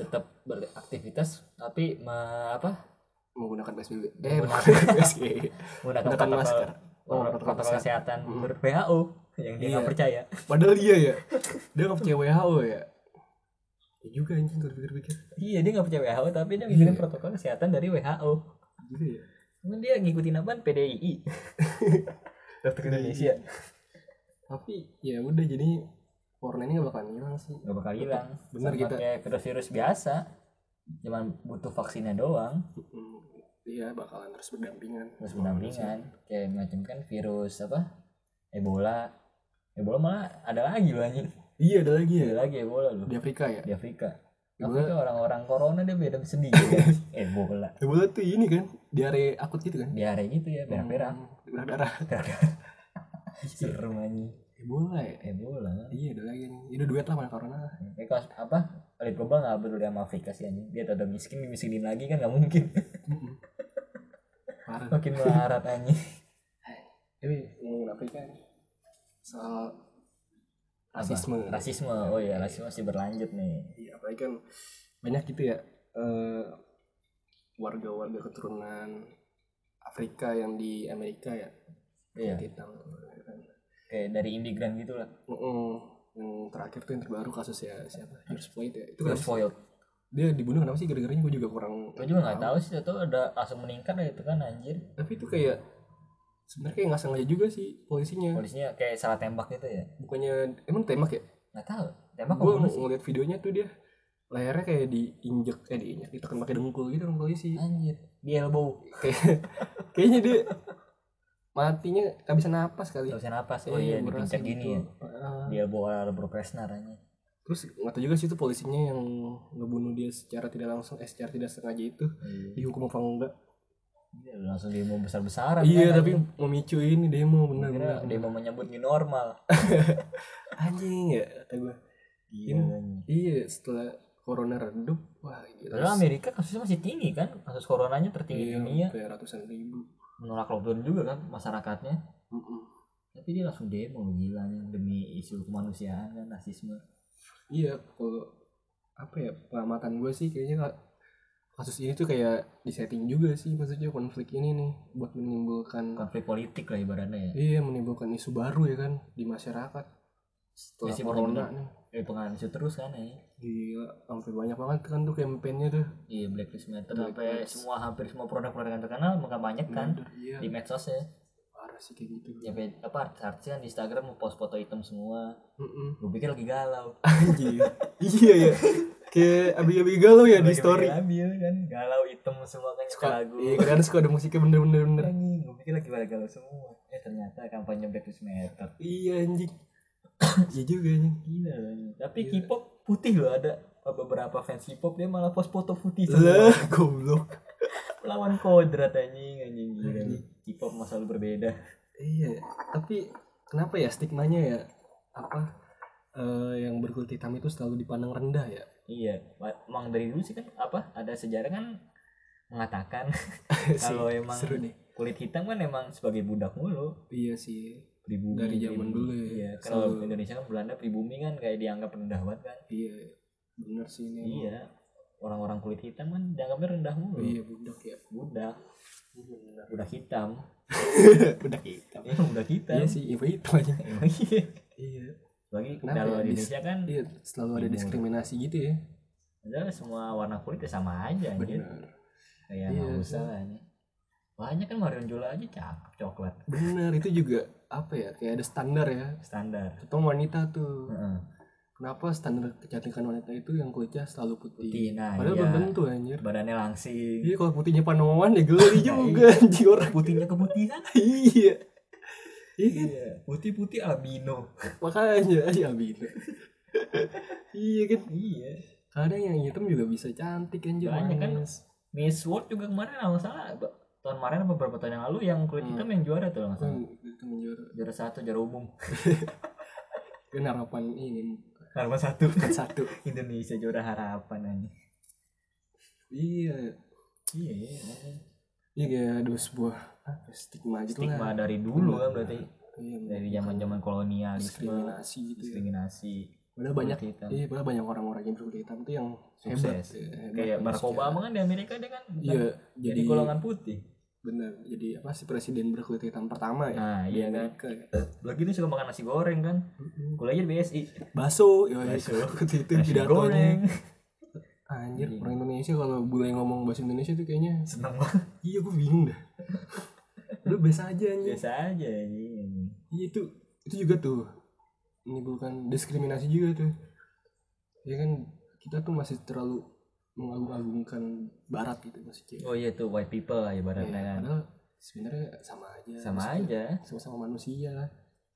Speaker 1: tetap beraktivitas tapi me- apa
Speaker 2: menggunakan psbb eh
Speaker 1: Menggunakan-
Speaker 2: menggunakan psbb
Speaker 1: menggunakan
Speaker 2: menggunakan
Speaker 1: protokol
Speaker 2: masker Oh,
Speaker 1: protokol,
Speaker 2: protokol
Speaker 1: protokol kesehatan
Speaker 2: Mm.
Speaker 1: menurut WHO yang dia nggak
Speaker 2: Iya.
Speaker 1: percaya
Speaker 2: padahal dia ya dia nggak percaya WHO ya ya juga anjing kalau pikir-pikir
Speaker 1: iya dia nggak percaya WHO tapi dia ngikutin
Speaker 2: Iya.
Speaker 1: protokol kesehatan dari WHO
Speaker 2: juga ya
Speaker 1: cuman dia ngikutin apaan PDII dokter Indonesia
Speaker 2: tapi ya udah jadi corona ini nggak bakalan hilang sih
Speaker 1: nggak bakal hilang
Speaker 2: Bener
Speaker 1: Sama
Speaker 2: kita.
Speaker 1: kayak virus-virus biasa cuman butuh vaksinnya doang
Speaker 2: Mm, dia bakalan terus berdampingan
Speaker 1: terus pendampingan kayak macam kan virus apa Ebola Ebola malah ada lagi loh anjing
Speaker 2: iya ada lagi ya
Speaker 1: ada lagi Ebola loh
Speaker 2: di Afrika ya
Speaker 1: di Afrika
Speaker 2: Ebola.
Speaker 1: Afrika orang-orang corona dia beda sendiri kan Ebola
Speaker 2: Ebola tuh ini kan diare akut gitu kan Hmm,
Speaker 1: diare gitu ya berak-berak
Speaker 2: darah darah Hmm.
Speaker 1: seru anjing
Speaker 2: Ebola ya
Speaker 1: Ebola
Speaker 2: iya ada lagi nih ini duet lah sama corona
Speaker 1: kayak kelas apa Elit global nggak peduli sama Afrika sih anjing dia tetap miskin miskinin lagi kan nggak mungkin
Speaker 2: Mm-mm. Hmm. parah
Speaker 1: makin melarat anjing
Speaker 2: tapi ngomongin Afrika nih soal
Speaker 1: Apa?
Speaker 2: rasisme
Speaker 1: rasisme oh iya rasisme masih berlanjut nih
Speaker 2: Iya, apalagi kan banyak gitu ya eh, warga-warga keturunan Afrika yang di Amerika ya,
Speaker 1: iya
Speaker 2: Vietnam. ya kan.
Speaker 1: kayak dari imigran gitu gitulah
Speaker 2: Mm-mm. Yang terakhir tuh yang terbaru kasusnya siapa? George Floyd ya. Itu
Speaker 1: terus
Speaker 2: kenapa sih?
Speaker 1: foiled
Speaker 2: dia dibunuh kenapa sih gara-garanya gue juga kurang.
Speaker 1: gue juga nggak tahu sih itu ada langsung meningkat lah itu kan anjir
Speaker 2: Tapi itu kayak sebenarnya kayak nggak sengaja juga sih polisinya.
Speaker 1: polisinya kayak salah tembak gitu ya
Speaker 2: Bukannya emang tembak ya?
Speaker 1: nggak tahu tembak
Speaker 2: Gue
Speaker 1: apa sih
Speaker 2: ngeliat videonya tuh dia lehernya kayak diinjek eh diinjek ditekan pakai dengkul gitu orang polisi.
Speaker 1: anjir di elbow
Speaker 2: Kayak- kayaknya dia matinya kehabisan napas kali.
Speaker 1: terusnya napas oh iya
Speaker 2: gua
Speaker 1: dipencet
Speaker 2: rasa gitu.
Speaker 1: gini ya
Speaker 2: Heeh.
Speaker 1: di elbow ala bro Presnar anjing
Speaker 2: Terus nggak tahu juga sih itu polisinya yang ngebunuh dia secara tidak langsung, eh secara tidak sengaja itu dihukum apa enggak?
Speaker 1: Iya, langsung demo besar-besaran
Speaker 2: iya,
Speaker 1: kan,
Speaker 2: tapi
Speaker 1: anjing.
Speaker 2: memicu ini
Speaker 1: Kira
Speaker 2: demo benar-benar.
Speaker 1: demo menyambut new normal
Speaker 2: Anjing ya, kata gua.
Speaker 1: Gila,
Speaker 2: Ini-
Speaker 1: anjing.
Speaker 2: Iya, setelah corona redup, wah gila.
Speaker 1: Padahal Amerika kasusnya masih tinggi kan kasus coronanya tertinggi di
Speaker 2: Iya,
Speaker 1: dunia
Speaker 2: sampai ratusan ribu.
Speaker 1: menolak lockdown juga kan masyarakatnya
Speaker 2: Mm-mm.
Speaker 1: tapi dia langsung demo gila anjing, demi isu kemanusiaan dan rasisme
Speaker 2: Iya, kalau apa ya pengamatan gue sih kayaknya ka- kasus ini tuh kayak disetting juga sih maksudnya konflik ini nih buat menimbulkan
Speaker 1: konflik politik lah ibaratnya ya
Speaker 2: Iya menimbulkan isu baru ya kan di masyarakat setelah
Speaker 1: Masih
Speaker 2: corona
Speaker 1: bener-bener.
Speaker 2: nih
Speaker 1: eh pengaruh isu terus kan ya
Speaker 2: gila sampai banyak banget kan tuh kampanyenya tuh
Speaker 1: Iya Black Lives Matter
Speaker 2: Black
Speaker 1: sampai
Speaker 2: Lives.
Speaker 1: semua hampir semua produk-produk yang terkenal mengkampanyekan
Speaker 2: Bener, iya
Speaker 1: di medsos ya.
Speaker 2: parah sih kayak gitu
Speaker 1: Sampai apa artis kan di Instagram mau post foto hitam semua.
Speaker 2: Mm-mm.
Speaker 1: Gue pikir lagi galau.
Speaker 2: Anjir. iya ya kayak abi-abi galau ya di
Speaker 1: Lagi
Speaker 2: story
Speaker 1: Ambil kan galau hitam semua kan suka
Speaker 2: suka
Speaker 1: lagu.
Speaker 2: iya kadang suka ada musiknya bener-bener bener.
Speaker 1: Anjing, gue pikir lagi pada galau semua. Eh ternyata kampanye Black Lives Matter.
Speaker 2: iya anjing iya juga anjing
Speaker 1: Gila loh. ini. Tapi
Speaker 2: Gila.
Speaker 1: K-pop putih loh ada beberapa fans K-pop dia malah post foto
Speaker 2: Iya,
Speaker 1: putih semua.
Speaker 2: lah goblok
Speaker 1: Lawan kodrat anjing anjing gila. K-pop masalah berbeda.
Speaker 2: iya tapi kenapa ya stigmanya ya apa eh, yang berkulit hitam itu selalu dipandang rendah ya
Speaker 1: Iya, ma- emang dari dulu sih kan apa ada sejarah kan mengatakan
Speaker 2: Sih,
Speaker 1: Kalau emang-
Speaker 2: seru nih
Speaker 1: kulit hitam kan emang sebagai budak mulu
Speaker 2: iya sih
Speaker 1: pribumi
Speaker 2: Dari zaman
Speaker 1: pribumi.
Speaker 2: dulu ya,
Speaker 1: Iya, kalau
Speaker 2: selalu.
Speaker 1: Indonesia kan Belanda pribumi kan kayak dianggap rendah banget kan.
Speaker 2: iya bener sih ini emang.
Speaker 1: Iya. Orang-orang kulit hitam kan dianggapnya rendah mulu.
Speaker 2: Oh, iya budak ya
Speaker 1: Budak, budak hitam.
Speaker 2: budak hitam
Speaker 1: Iya, budak hitam.
Speaker 2: iya sih info hitam aja
Speaker 1: Emang iya.
Speaker 2: iya
Speaker 1: Bagi
Speaker 2: Kenapa
Speaker 1: kalau
Speaker 2: ya?
Speaker 1: di Indonesia kan
Speaker 2: iya selalu ada
Speaker 1: Timur.
Speaker 2: diskriminasi gitu ya
Speaker 1: padahal semua warna kulit ya sama aja anjir.
Speaker 2: bener
Speaker 1: Kayak
Speaker 2: Iya,
Speaker 1: nggak
Speaker 2: sih.
Speaker 1: usah lah ini. Banyak kan Marion Jola aja cakep coklat
Speaker 2: bener itu juga apa ya kayak ada standar ya
Speaker 1: standar.
Speaker 2: tentang wanita tuh
Speaker 1: Heeh.
Speaker 2: kenapa standar kecantikan wanita itu yang kulitnya selalu putih, Ah,
Speaker 1: Putih nah
Speaker 2: padahal
Speaker 1: iya.
Speaker 2: belum tentu anjir
Speaker 1: Badannya langsing.
Speaker 2: Iya kalau putihnya panoman ya geli juga anjir orang
Speaker 1: Putihnya keputihan.
Speaker 2: iya iya kan?
Speaker 1: Iya. Putih-putih albino.
Speaker 2: makanya aja abis iya kan
Speaker 1: Iya.
Speaker 2: kadang yang hitam juga bisa cantik anjir
Speaker 1: Banyak kan?
Speaker 2: manis.
Speaker 1: Miss World juga kemarin kalau nggak salah ba- tahun kemarin apa beberapa tahun yang lalu yang kulit
Speaker 2: Hmm.
Speaker 1: hitam yang juara tuh kalau nggak salah.
Speaker 2: Hmm, itu menjuara
Speaker 1: Juara satu, juara umum.
Speaker 2: kan harapan ini
Speaker 1: Harapan satu.
Speaker 2: bukan satu
Speaker 1: Indonesia juara harapan aja.
Speaker 2: iya
Speaker 1: Iya. iya.
Speaker 2: iya kayak ada sebuah apa, stigma gitu
Speaker 1: Stigma
Speaker 2: lah
Speaker 1: dari dulu kan
Speaker 2: Benar.
Speaker 1: berarti
Speaker 2: iya,
Speaker 1: dari zaman-zaman kolonialisme,
Speaker 2: diskriminasi gitu ya.
Speaker 1: diskriminasi.
Speaker 2: padahal banyak
Speaker 1: kulit hitam.
Speaker 2: iya padahal banyak orang-orang yang berkulit hitam tuh yang hebat
Speaker 1: Sukses.
Speaker 2: ya, hebat
Speaker 1: Kayak Barack
Speaker 2: manusia.
Speaker 1: Obama kan di Amerika dia kan bukan
Speaker 2: iya
Speaker 1: jadi
Speaker 2: jadi
Speaker 1: golongan putih.
Speaker 2: benar jadi apa sih presiden berkulit hitam pertama ya
Speaker 1: Nah,
Speaker 2: di
Speaker 1: iya kan.
Speaker 2: Amerika ya.
Speaker 1: Lagi dia suka makan nasi goreng kan.
Speaker 2: Mm-mm.
Speaker 1: Kuliahnya di BSI.
Speaker 2: baso ya
Speaker 1: Baso.
Speaker 2: itu itu
Speaker 1: Nasi
Speaker 2: pidatonya
Speaker 1: goreng.
Speaker 2: Anjir,
Speaker 1: Iya.
Speaker 2: orang Indonesia kalau boleh ngomong bahasa Indonesia tuh kayaknya
Speaker 1: Seneng banget.
Speaker 2: Iya, gue bingung dah Udah biasa aja anjir
Speaker 1: Biasa aja ini.
Speaker 2: Iya itu, itu juga tuh Menimbulkan diskriminasi juga tuh Ya kan, kita tuh masih terlalu mengagung-agungkan barat gitu masih cewek
Speaker 1: Oh iya tuh white people lah ibaratnya
Speaker 2: Ya,
Speaker 1: kan.
Speaker 2: Padahal sebenarnya sama aja
Speaker 1: Sama
Speaker 2: Maksudnya,
Speaker 1: aja.
Speaker 2: Sama-sama manusia lah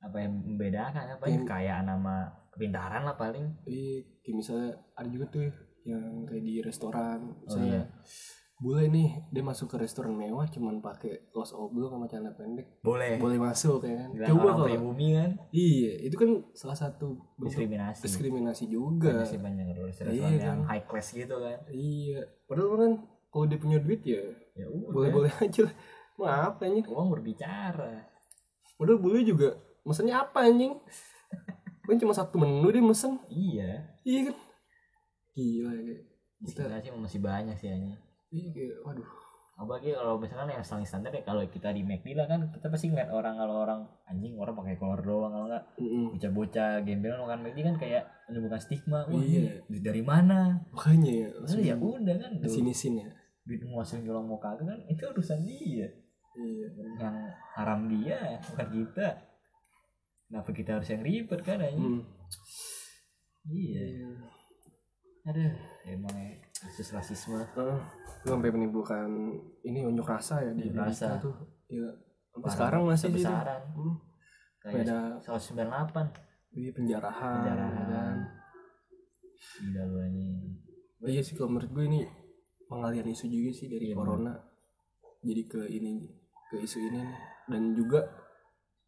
Speaker 1: Apa yang membedakan apa yang
Speaker 2: Yang-
Speaker 1: kekayaan sama kepintaran lah paling.
Speaker 2: Tapi kayak misalnya ada juga tuh yang kayak di restoran
Speaker 1: Oh
Speaker 2: Misalnya
Speaker 1: iya.
Speaker 2: Bule nih, dia masuk ke restoran mewah cuman pakai kaos oblong sama celana pendek
Speaker 1: Boleh.
Speaker 2: boleh masuk ya kan
Speaker 1: Eh. Bilang
Speaker 2: coba
Speaker 1: orang
Speaker 2: kalau
Speaker 1: pribumi kan
Speaker 2: iya itu kan salah satu bentuk
Speaker 1: diskriminasi.
Speaker 2: diskriminasi
Speaker 1: Banyak
Speaker 2: juga
Speaker 1: sih banyak restoran
Speaker 2: Iya,
Speaker 1: yang
Speaker 2: kan.
Speaker 1: high class gitu kan.
Speaker 2: iya padahal kan kalau dia punya duit ya
Speaker 1: Ya udah.
Speaker 2: boleh boleh aja lah mau apa anjing
Speaker 1: Uang berbicara.
Speaker 2: padahal boleh juga mesennya apa anjing kan cuma satu menu dia mesen
Speaker 1: Iya.
Speaker 2: iya kan gila ya kita
Speaker 1: Diskriminasi emang masih banyak sih hanya.
Speaker 2: iya kayak, waduh
Speaker 1: Apalagi kalau misalkan yang standar standar ya kalau kita di McD lah kan kita pasti ngeliat orang kalau orang anjing orang pakai kolor doang kalau nggak
Speaker 2: Mm-mm.
Speaker 1: bocah-bocah gembel makan McD kan kayak menimbulkan stigma. Wah,
Speaker 2: Iya.
Speaker 1: ini dari mana?
Speaker 2: makanya ya
Speaker 1: Padahal ya udah kan
Speaker 2: di sini sini ya
Speaker 1: duit nguasain orang mau kagak kan itu urusan dia
Speaker 2: iya
Speaker 1: yang haram dia bukan kita kenapa kita harus yang ribet kan anjing
Speaker 2: Mm.
Speaker 1: iya
Speaker 2: Iya.
Speaker 1: ada emang ya, kasus rasisme
Speaker 2: Heeh. Itu sampai menimbulkan ini unjuk rasa ya di
Speaker 1: Unjuk
Speaker 2: Indonesia
Speaker 1: rasa.
Speaker 2: tuh. Iya. Sampai
Speaker 1: Parah,
Speaker 2: sekarang masih gitu.
Speaker 1: kebesaran
Speaker 2: Hmm.
Speaker 1: kayak
Speaker 2: Ada
Speaker 1: 198
Speaker 2: di Iya, penjarahan.
Speaker 1: Penjarahan.
Speaker 2: kan.
Speaker 1: gila lu anjing
Speaker 2: Oh, iya sih kalau menurut gue ini pengalian isu juga sih dari
Speaker 1: Iya,
Speaker 2: corona. Jadi ke ini ke isu ini nih. dan juga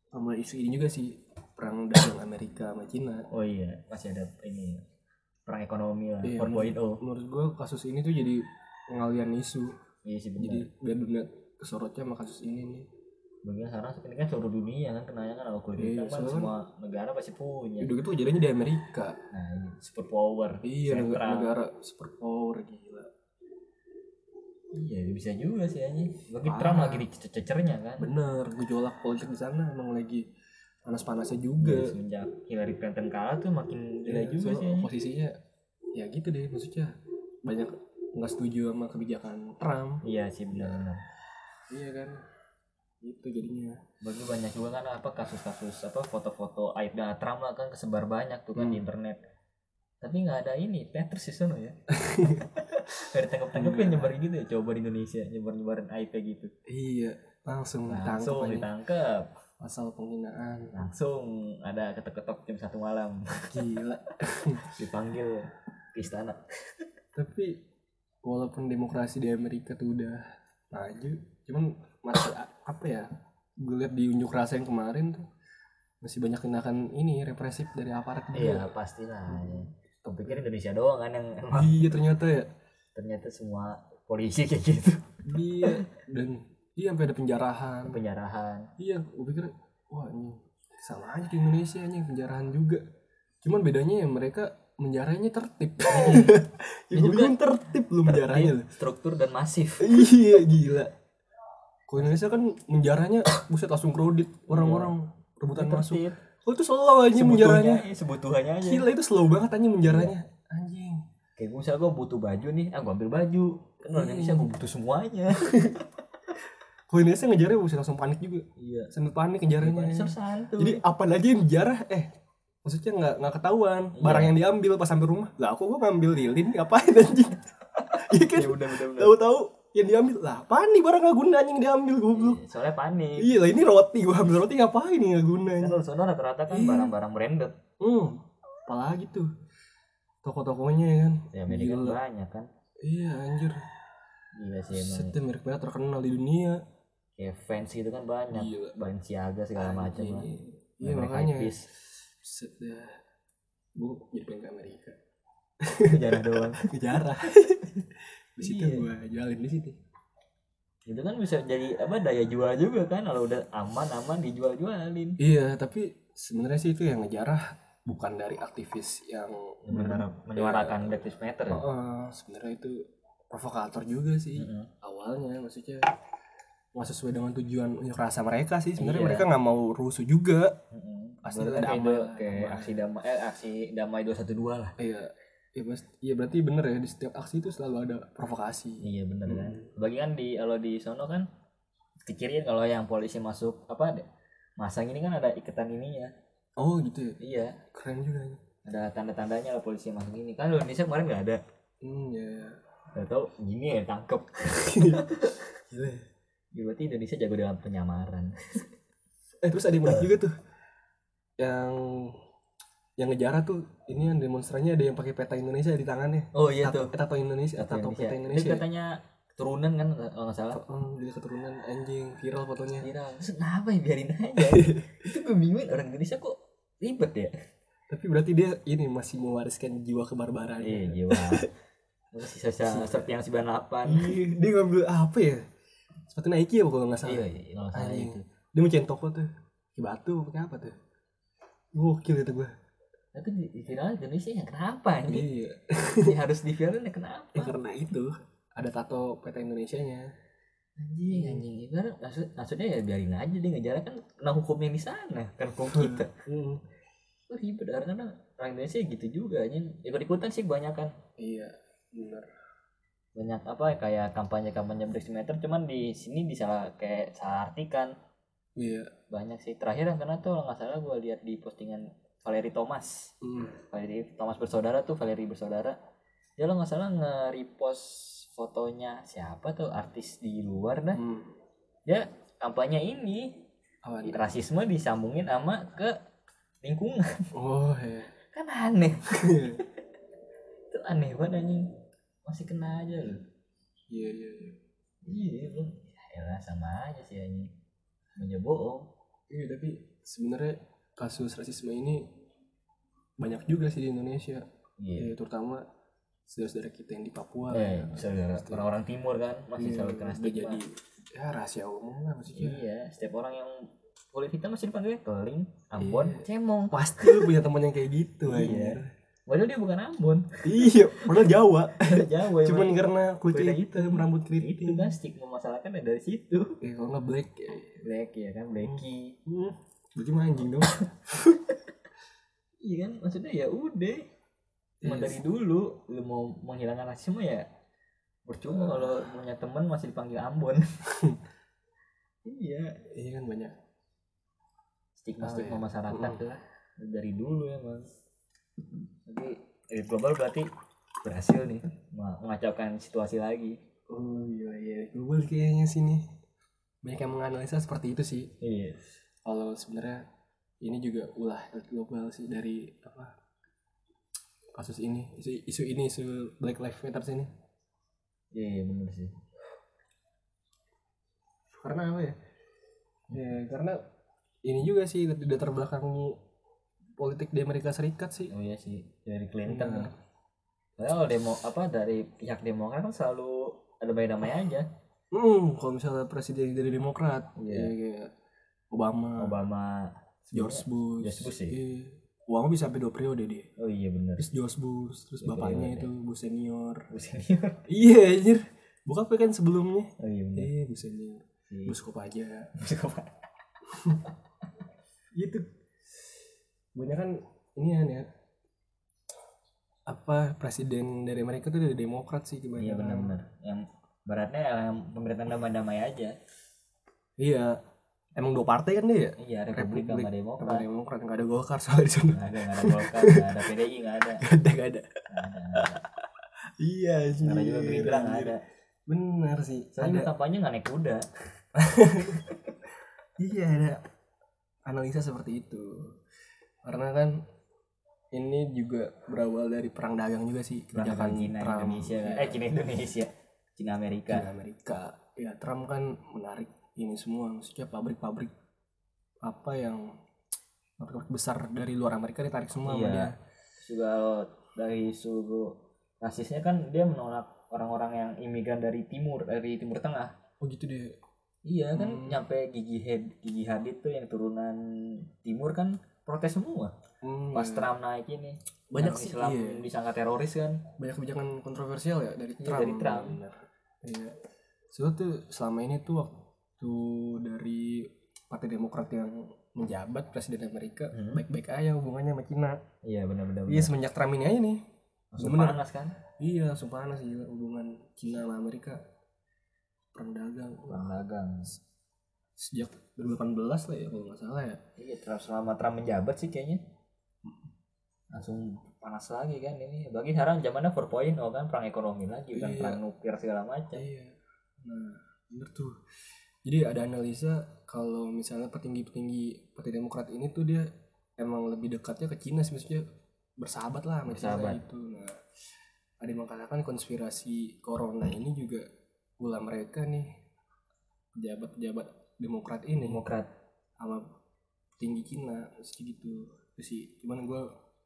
Speaker 2: sama isu ini juga sih perang dagang Amerika sama Cina.
Speaker 1: oh iya masih ada ini perang ekonomi lah
Speaker 2: Iya,
Speaker 1: 4.0
Speaker 2: Menurut gue kasus ini tuh jadi pengalian isu.
Speaker 1: iya sih
Speaker 2: Jadi
Speaker 1: benar
Speaker 2: biar dunia kesorotnya sama kasus ini nih.
Speaker 1: bagian sekarang ini kan seluruh dunia kan kenanya kan kalau kulit
Speaker 2: Iya,
Speaker 1: hitam kan
Speaker 2: soalnya kan-
Speaker 1: semua negara pasti punya
Speaker 2: Hidup itu Ya gitu, kejadiannya di Amerika.
Speaker 1: nah ini super power
Speaker 2: Iya negara,
Speaker 1: sentral
Speaker 2: negara superpower gila.
Speaker 1: Iya bisa juga sih anjing. Bagi
Speaker 2: Parah.
Speaker 1: Trump lagi dicecernya kan.
Speaker 2: Bener gejolak politik di sana emang lagi panas-panasnya
Speaker 1: Iya,
Speaker 2: juga.
Speaker 1: Semenjak Hillary Clinton kalah tuh makin gila
Speaker 2: Iya,
Speaker 1: juga
Speaker 2: soalnya
Speaker 1: sih anjing.
Speaker 2: Posisinya ya gitu deh maksudnya banyak nggak setuju sama kebijakan Trump.
Speaker 1: Iya sih benar-benar.
Speaker 2: Iya kan. Itu jadinya.
Speaker 1: Bagi banyak juga kan apa kasus-kasus apa foto-foto aib dan Trump lah kan kesebar banyak tuh kan di
Speaker 2: Hmm.
Speaker 1: internet. Tapi nggak ada ini Petrus di sana ya. Gak ditangkap-tangkapin nyebar gitu ya coba di Indonesia nyebar-nyebarin aib kayak gitu.
Speaker 2: Iya langsung ditangkap
Speaker 1: Langsung
Speaker 2: aja.
Speaker 1: ditangkap.
Speaker 2: pasal penghinaan
Speaker 1: Langsung ada ketok-ketok jam satu malam
Speaker 2: gila.
Speaker 1: dipanggil ke istana.
Speaker 2: Tapi walaupun demokrasi di Amerika tuh udah maju, cuman masih a- apa ya? Gue lihat di unjuk rasa yang kemarin tuh masih banyak tindakan ini represif dari aparat juga.
Speaker 1: Iya pastilah. Kepikir Indonesia doang kan yang emang
Speaker 2: Iya ternyata ya.
Speaker 1: ternyata semua polisi kayak gitu
Speaker 2: Iya dan iya sampai ada penjarahan.
Speaker 1: penjarahan.
Speaker 2: Iya, gue pikir wah ini sama aja di Indonesia anjing penjarahan juga. Cuman bedanya ya mereka menjaranya tertib. ya, gue Iya, bilang tertib lu menjaranya lu.
Speaker 1: Struktur dan masif.
Speaker 2: Iya gila. Kalau Indonesia kan menjaranya buset langsung kredit orang-orang rebutan masuk.
Speaker 1: Tertib.
Speaker 2: Oh itu slow aja menjaranya.
Speaker 1: Sebutuhnya, eh, sebutuhannya aja.
Speaker 2: Gila itu slow banget anjing menjaranya. Anjing.
Speaker 1: Kayak gue misalnya gue butuh baju nih, ah gue ambil baju. Kan orang Indonesia gue butuh semuanya.
Speaker 2: Kalau Indonesia ngejarnya buset langsung panik juga.
Speaker 1: Iya.
Speaker 2: Sampai panik ngejaranya.
Speaker 1: Indonesia santuy.
Speaker 2: Jadi apa lagi yang dijarah eh maksudnya nggak nggak ketahuan barang yang diambil pas sampai rumah lah aku kok ngambil lilin ngapain anjing iya kan
Speaker 1: ya udah udah udah.
Speaker 2: tahu-tahu yang diambil lah apa nih barang nggak guna anjing diambil goblok
Speaker 1: Soalnya panik.
Speaker 2: iya lah ini roti gua ambil roti ngapain nih nggak guna
Speaker 1: Kan
Speaker 2: anjing
Speaker 1: kalau di sono rata-rata kan barang-barang branded.
Speaker 2: hmm apalagi tuh toko-tokonya ya kan
Speaker 1: Ya Amerika kan
Speaker 2: Gila.
Speaker 1: banyak kan.
Speaker 2: iya anjir
Speaker 1: Gila sih Iya, emang.
Speaker 2: setnya merek-merek terkenal di dunia
Speaker 1: Kayak fans gitu kan banyak.
Speaker 2: Gila.
Speaker 1: Balenciaga segala macam
Speaker 2: Anjing.
Speaker 1: lah.
Speaker 2: iya
Speaker 1: Merek
Speaker 2: makanya
Speaker 1: hypebeast.
Speaker 2: set dah gua jadi pengen ke Amerika
Speaker 1: Jarah doang.
Speaker 2: kejarah di situ
Speaker 1: Iya.
Speaker 2: gua jualin di situ
Speaker 1: Itu kan bisa jadi apa daya jual juga kan kalau udah aman-aman dijual-jualin.
Speaker 2: iya tapi sebenarnya sih itu yang ngejarah bukan dari aktivis yang
Speaker 1: Menyuarakan Black Lives Matter.
Speaker 2: Oh, oh, sebenarnya itu provokator juga sih
Speaker 1: Mm-mm.
Speaker 2: awalnya maksudnya nggak sesuai dengan tujuan unjuk rasa mereka sih sebenarnya
Speaker 1: Iya.
Speaker 2: mereka nggak mau rusuh juga
Speaker 1: Mm-mm.
Speaker 2: Pasti
Speaker 1: Berarti
Speaker 2: ada
Speaker 1: kayak
Speaker 2: damai
Speaker 1: itu,
Speaker 2: lah,
Speaker 1: kayak
Speaker 2: damai.
Speaker 1: aksi damai eh, aksi damai 212 lah.
Speaker 2: iya iya mas iya berarti bener ya di setiap aksi itu selalu ada provokasi
Speaker 1: Iya bener
Speaker 2: Mm.
Speaker 1: kan. Bagi kan di kalau di sono kan kecilin kalau yang polisi masuk apa ada- masa ini kan ada iketan ininya.
Speaker 2: oh gitu ya
Speaker 1: Iya,
Speaker 2: keren juga ya.
Speaker 1: ada tanda-tandanya lah polisi masuk ini. Kan di Indonesia kemarin nggak ada.
Speaker 2: hmm ya ya.
Speaker 1: Gak tau gini ya tangkep.
Speaker 2: Gila ya.
Speaker 1: Ya, Berarti Indonesia jago dalam penyamaran.
Speaker 2: Eh terus ada yang menarik juga tuh yang yang ngejarah tuh ini yang demonstrannya ada yang pakai peta Indonesia di tangannya.
Speaker 1: Oh iya
Speaker 2: Tato,
Speaker 1: tuh.
Speaker 2: eh, tato Indonesia,
Speaker 1: Atau
Speaker 2: tato
Speaker 1: Itu
Speaker 2: peta Indonesia.
Speaker 1: katanya keturunan kan kalau nggak salah.
Speaker 2: Hmm, dia keturunan anjing viral fotonya.
Speaker 1: Viral. Terus kenapa ya biarin aja? itu gue bingungin orang Indonesia kok ribet ya.
Speaker 2: Tapi berarti dia ini masih mewariskan jiwa kebarbaran.
Speaker 1: Iya jiwa. Terus sisa-sisa serpian 98.
Speaker 2: Iya, dia ngambil apa ya? Sepatu Nike ya kalau nggak salah.
Speaker 1: Iya, iya, kalau nggak salah
Speaker 2: Anjing.
Speaker 1: itu.
Speaker 2: Dia mau cari toko tuh. Di batu pakai apa tuh? Gokil itu gua.
Speaker 1: Tapi di, di viral Indonesia yang kenapa ini?
Speaker 2: Iya.
Speaker 1: harus di viral ya kenapa?
Speaker 2: Ya, karena itu ada tato peta Indonesianya.
Speaker 1: Anjing, anjing. Ibarat maksud, maksudnya ya biarin aja dia ngejar kan kena hukum yang di sana, kan hukum kita.
Speaker 2: Hmm.
Speaker 1: Kok ribet karena orang Indonesia gitu juga anjing. Ikut ikutan sih banyak kan.
Speaker 2: Iya. Bener.
Speaker 1: Banyak apa kayak kampanye-kampanye Black Lives Matter cuman di sini disalah kayak salah artikan.
Speaker 2: Iya.
Speaker 1: Banyak sih. Terakhir yang kena tuh kalau nggak salah gua lihat di postingan Valeri Thomas.
Speaker 2: Hmm.
Speaker 1: Valeri Thomas bersaudara tuh Valeri bersaudara dia lo nggak salah nge-repost fotonya siapa tuh artis di luar dah
Speaker 2: Hmm.
Speaker 1: dia kampanye ini
Speaker 2: Apa nih?
Speaker 1: rasisme disambungin sama ke lingkungan
Speaker 2: Oh ya.
Speaker 1: kan aneh itu aneh banget anjing masih kena aja loh
Speaker 2: Iya iya. iya.
Speaker 1: iya bro. ya elah, sama aja sih anjing Semuanya bohong
Speaker 2: Iya tapi sebenarnya kasus rasisme ini banyak juga sih di Indonesia.
Speaker 1: iya
Speaker 2: Ya, terutama saudara-saudara kita yang di Papua.
Speaker 1: eh
Speaker 2: ya.
Speaker 1: saudara orang-orang timur kan masih
Speaker 2: Iya,
Speaker 1: selalu kena
Speaker 2: udah
Speaker 1: stigma
Speaker 2: jadi ya rahasia umum lah maksudnya.
Speaker 1: iya setiap orang yang kulit hitam masih dipanggilnya keling ambon
Speaker 2: Iya.
Speaker 1: cemong
Speaker 2: Pasti lu punya teman yang kayak gitu
Speaker 1: Iya.
Speaker 2: anjir.
Speaker 1: padahal dia bukan ambon
Speaker 2: Iya, padahal Jawa.
Speaker 1: Jawa ya,
Speaker 2: Cuman gitu.
Speaker 1: Bang.
Speaker 2: karena kulitnya
Speaker 1: Kulitnya
Speaker 2: hitam, rambut
Speaker 1: itu
Speaker 2: keriting.
Speaker 1: kan stigma masalahnya dari situ
Speaker 2: Ya kalau nggak black ya.
Speaker 1: black ya kan blacky
Speaker 2: Hmm. Berarti mah anjing dong.
Speaker 1: iya kan maksudnya ya udah Cuma
Speaker 2: Iya
Speaker 1: dari dulu lu mau menghilangkan rasisme ya
Speaker 2: Eh.
Speaker 1: percuma kalau punya teman masih dipanggil Ambon iya
Speaker 2: Iya kan banyak.
Speaker 1: stigma
Speaker 2: Tahu
Speaker 1: stigma
Speaker 2: ya.
Speaker 1: masyarakat
Speaker 2: Mm.
Speaker 1: tuh dari dulu ya, emang tapi elit eh, global berarti berhasil nih me- mengacaukan situasi lagi
Speaker 2: Oh iya iya, global kayaknya sini. Banyak yang menganalisa seperti itu sih.
Speaker 1: iya
Speaker 2: kalau sebenarnya ini juga ulah elit global sih dari apa kasus ini isu, isu ini isu Black Lives Matter ini
Speaker 1: iya bener sih
Speaker 2: karena apa ya ya karena ini juga sih tidak terbelakangi politik di Amerika Serikat sih Nah,
Speaker 1: oh iya sih dari Clinton ya. Padahal demo apa dari pihak Demokrat kan selalu ada damai-damai aja.
Speaker 2: Hmm, kalau misalnya presiden dari Demokrat,
Speaker 1: Iya.
Speaker 2: ya kayak Obama,
Speaker 1: Obama,
Speaker 2: George Bush,
Speaker 1: Hmm. George Bush sih.
Speaker 2: Iya. Obama bisa sampai dua periode dia.
Speaker 1: Oh iya benar.
Speaker 2: Terus George Bush, terus
Speaker 1: Dua
Speaker 2: bapaknya
Speaker 1: periode.
Speaker 2: itu Bush senior.
Speaker 1: Bush senior.
Speaker 2: Iya, anjir. Buka apa kan sebelumnya?
Speaker 1: Oh iya benar.
Speaker 2: Iya, Bush senior.
Speaker 1: Si
Speaker 2: Bush Kop aja.
Speaker 1: Bush apa?
Speaker 2: Gitu. Banyak kan ini ya. Apa presiden dari Amerika tuh dari Demokrat sih gimana?
Speaker 1: Iya benar-benar. Yang beratnya ya yang pemerintahan damai-damai aja.
Speaker 2: Iya. Emang dua partai kan dia ya?
Speaker 1: Iya Republik sama
Speaker 2: Sama
Speaker 1: Demokrat.
Speaker 2: Demokrat nggak ada Golkar soalnya di sana.
Speaker 1: Nggak ada nggak ada Golkar, nggak ada PDI nggak ada.
Speaker 2: Gak ada, gak
Speaker 1: Nggak
Speaker 2: ada.
Speaker 1: ada, nggak ada.
Speaker 2: Iya, anjir. Iya.
Speaker 1: Nggak ada juga Gerindra nggak ada.
Speaker 2: Benar sih.
Speaker 1: Soalnya
Speaker 2: ada.
Speaker 1: kampanye nggak naik kuda.
Speaker 2: Iya, ada analisa seperti itu. Karena kan ini juga berawal dari perang dagang juga sih
Speaker 1: Berangkat
Speaker 2: kebijakan
Speaker 1: Cina
Speaker 2: Trump.
Speaker 1: Indonesia.
Speaker 2: Iya,
Speaker 1: Eh Cina Indonesia. Cina Amerika.
Speaker 2: Cina Amerika. Ya, Trump kan menarik ini semua maksudnya pabrik-pabrik apa yang pabrik besar dari luar Amerika ditarik semua sama
Speaker 1: Iya.
Speaker 2: dia.
Speaker 1: juga lo- dari suku rasisnya kan dia menolak orang-orang yang imigran dari timur dari timur tengah
Speaker 2: Oh gitu deh.
Speaker 1: iya kan
Speaker 2: Hmm.
Speaker 1: nyampe gigi head gigi hadid tuh yang turunan timur kan protes semua
Speaker 2: Hmm,
Speaker 1: pas
Speaker 2: iya.
Speaker 1: Trump naik ini
Speaker 2: banyak
Speaker 1: yang
Speaker 2: sih
Speaker 1: Islam
Speaker 2: iya.
Speaker 1: disangka teroris kan
Speaker 2: banyak kebijakan kontroversial ya dari
Speaker 1: Iya,
Speaker 2: Trump.
Speaker 1: dari Trump.
Speaker 2: Benar. Iya. So, tuh selama ini tuh waktu dari Partai Demokrat yang menjabat presiden Amerika
Speaker 1: Hmm.
Speaker 2: baik-baik aja hubungannya sama Cina.
Speaker 1: iya benar-benar
Speaker 2: Iya semenjak Trump ini aja nih.
Speaker 1: langsung
Speaker 2: bener.
Speaker 1: panas kan
Speaker 2: Iya sumpah panas sih hubungan Cina sama Amerika perang dagang
Speaker 1: perang dagang
Speaker 2: sejak 2018 lah ya kalau nggak salah ya.
Speaker 1: iya Trump selama Trump menjabat sih kayaknya langsung panas lagi kan ini bagi sekarang zamannya 4.0 kan perang ekonomi lagi kan
Speaker 2: Iya.
Speaker 1: perang nuklir segala macam
Speaker 2: Iya. Nah, bener tuh. Jadi ada analisa kalau misalnya petinggi-petinggi Partai Demokrat ini tuh dia emang lebih dekatnya ke Cina sih maksudnya bersahabat lah sama Cina
Speaker 1: Bersahabat.
Speaker 2: itu. Nah, ada yang mengatakan konspirasi corona ini juga pula mereka nih pejabat-pejabat Demokrat ini
Speaker 1: demokrat
Speaker 2: sama tinggi Cina terus gitu. Terus sih, cuman gue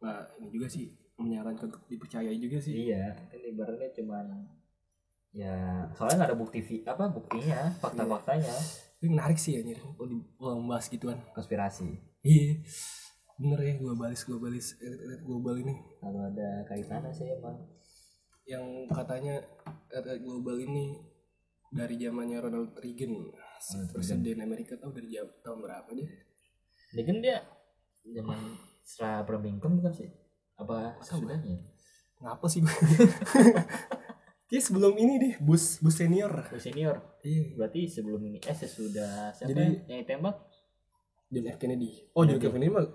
Speaker 2: nah, ini juga sih menyarankan untuk dipercayai juga sih.
Speaker 1: Iya, kan ibaratnya cuman ya soalnya nggak ada bukti fi- apa buktinya fakta-faktanya
Speaker 2: Ini menarik sih ya nyari kalau membahas gituan.
Speaker 1: konspirasi
Speaker 2: Iya. Bener ya globalis globalis elit elit eh, global ini
Speaker 1: kalau ada kaitannya sih emang
Speaker 2: yang katanya elit elit global ini dari zamannya Ronald Reagan si
Speaker 1: Ronald Reagan.
Speaker 2: presiden Amerika tahu dari jam, tahun berapa dia
Speaker 1: mungkin kan dia zaman setelah Abraham Lincoln bukan sih apa
Speaker 2: Masa bukan?
Speaker 1: sesudahnya
Speaker 2: ngapa sih gue dia sebelum ini deh bus bus senior
Speaker 1: Oh, senior
Speaker 2: iya
Speaker 1: berarti sebelum ini eh sesudah siapa
Speaker 2: Jadi-
Speaker 1: yang ditembak
Speaker 2: John F Kennedy oh John F
Speaker 1: Kennedy.
Speaker 2: Kennedy mah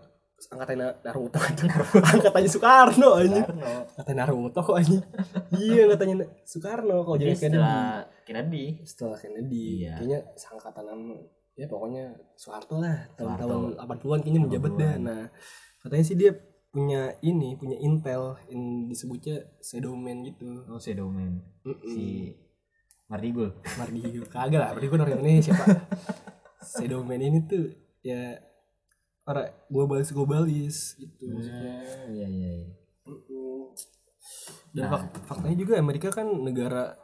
Speaker 2: angkatannya Naruto angkatannya Soekarno aja
Speaker 1: Soekarno
Speaker 2: angkatannya Naruto kok aja iya angkatannya Soekarno kalau
Speaker 1: jadi
Speaker 2: John F Kennedy
Speaker 1: setelah Kennedy
Speaker 2: setelah Kennedy
Speaker 1: Iya.
Speaker 2: kayaknya seangkatan sama ya pokoknya Soeharto lah tahun-tahun
Speaker 1: Soeharto.
Speaker 2: 80-an kayaknya menjabat dah
Speaker 1: 80-an.
Speaker 2: nah katanya sih dia punya ini punya intel yang disebutnya sedomen gitu
Speaker 1: oh Shadow Man.
Speaker 2: Mm-mm.
Speaker 1: si Mardigul
Speaker 2: Mardio kagak lah Mardio kan orang Indonesia pak sedomen ini tuh ya orang globalis globalis gitu maksudnya
Speaker 1: Hmm, iya iya iya.
Speaker 2: Mm-mm.
Speaker 1: Nah.
Speaker 2: dan fak- faktanya juga Amerika kan negara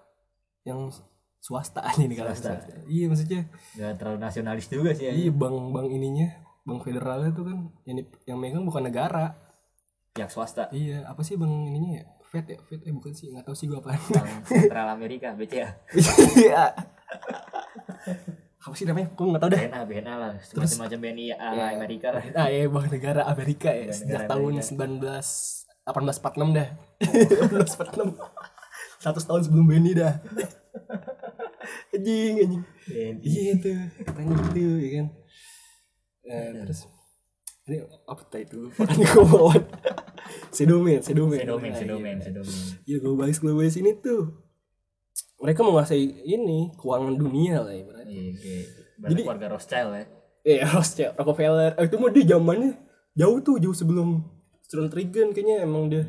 Speaker 2: yang swasta nih negara
Speaker 1: Swasta.
Speaker 2: swasta. iya maksudnya
Speaker 1: nggak terlalu nasionalis juga sih ya
Speaker 2: Iya bank bank ininya bank federalnya tuh kan yang di- yang megang bukan negara.
Speaker 1: pihak swasta
Speaker 2: Iya apa sih bank ininya ya? Fed ya Fed eh bukan sih nggak tahu sih gua apa.
Speaker 1: Bank Sentral Amerika BCA
Speaker 2: Iya. apa sih namanya? Gua nggak tahu deh.
Speaker 1: BNA BNA lah
Speaker 2: Terus-
Speaker 1: semacam BNI ya,
Speaker 2: Iya.
Speaker 1: Amerika lah
Speaker 2: Ah iya bank negara Amerika ya
Speaker 1: Bank
Speaker 2: sejak
Speaker 1: negara
Speaker 2: tahun
Speaker 1: Amerika.
Speaker 2: 19 1846 dah. 1846. 100 tahun sebelum Benny dah. anjing anjing. Iya itu katanya gitu ya kan. Eh, terus ini apa tadi itu? Makanya gue bawa sedomen, sedomen.
Speaker 1: sedomen
Speaker 2: Nah,
Speaker 1: sedomen
Speaker 2: iya.
Speaker 1: sedomen
Speaker 2: Iya globalis globalis ini tuh mereka menguasai ini keuangan dunia lah ibaratnya.
Speaker 1: iya kayak
Speaker 2: Jadi-
Speaker 1: berarti keluarga Rothschild ya
Speaker 2: Eh Rothschild, Rockefeller, eh, itu mah dia zamannya jauh tuh jauh sebelum Ronald Reagan kayaknya emang dia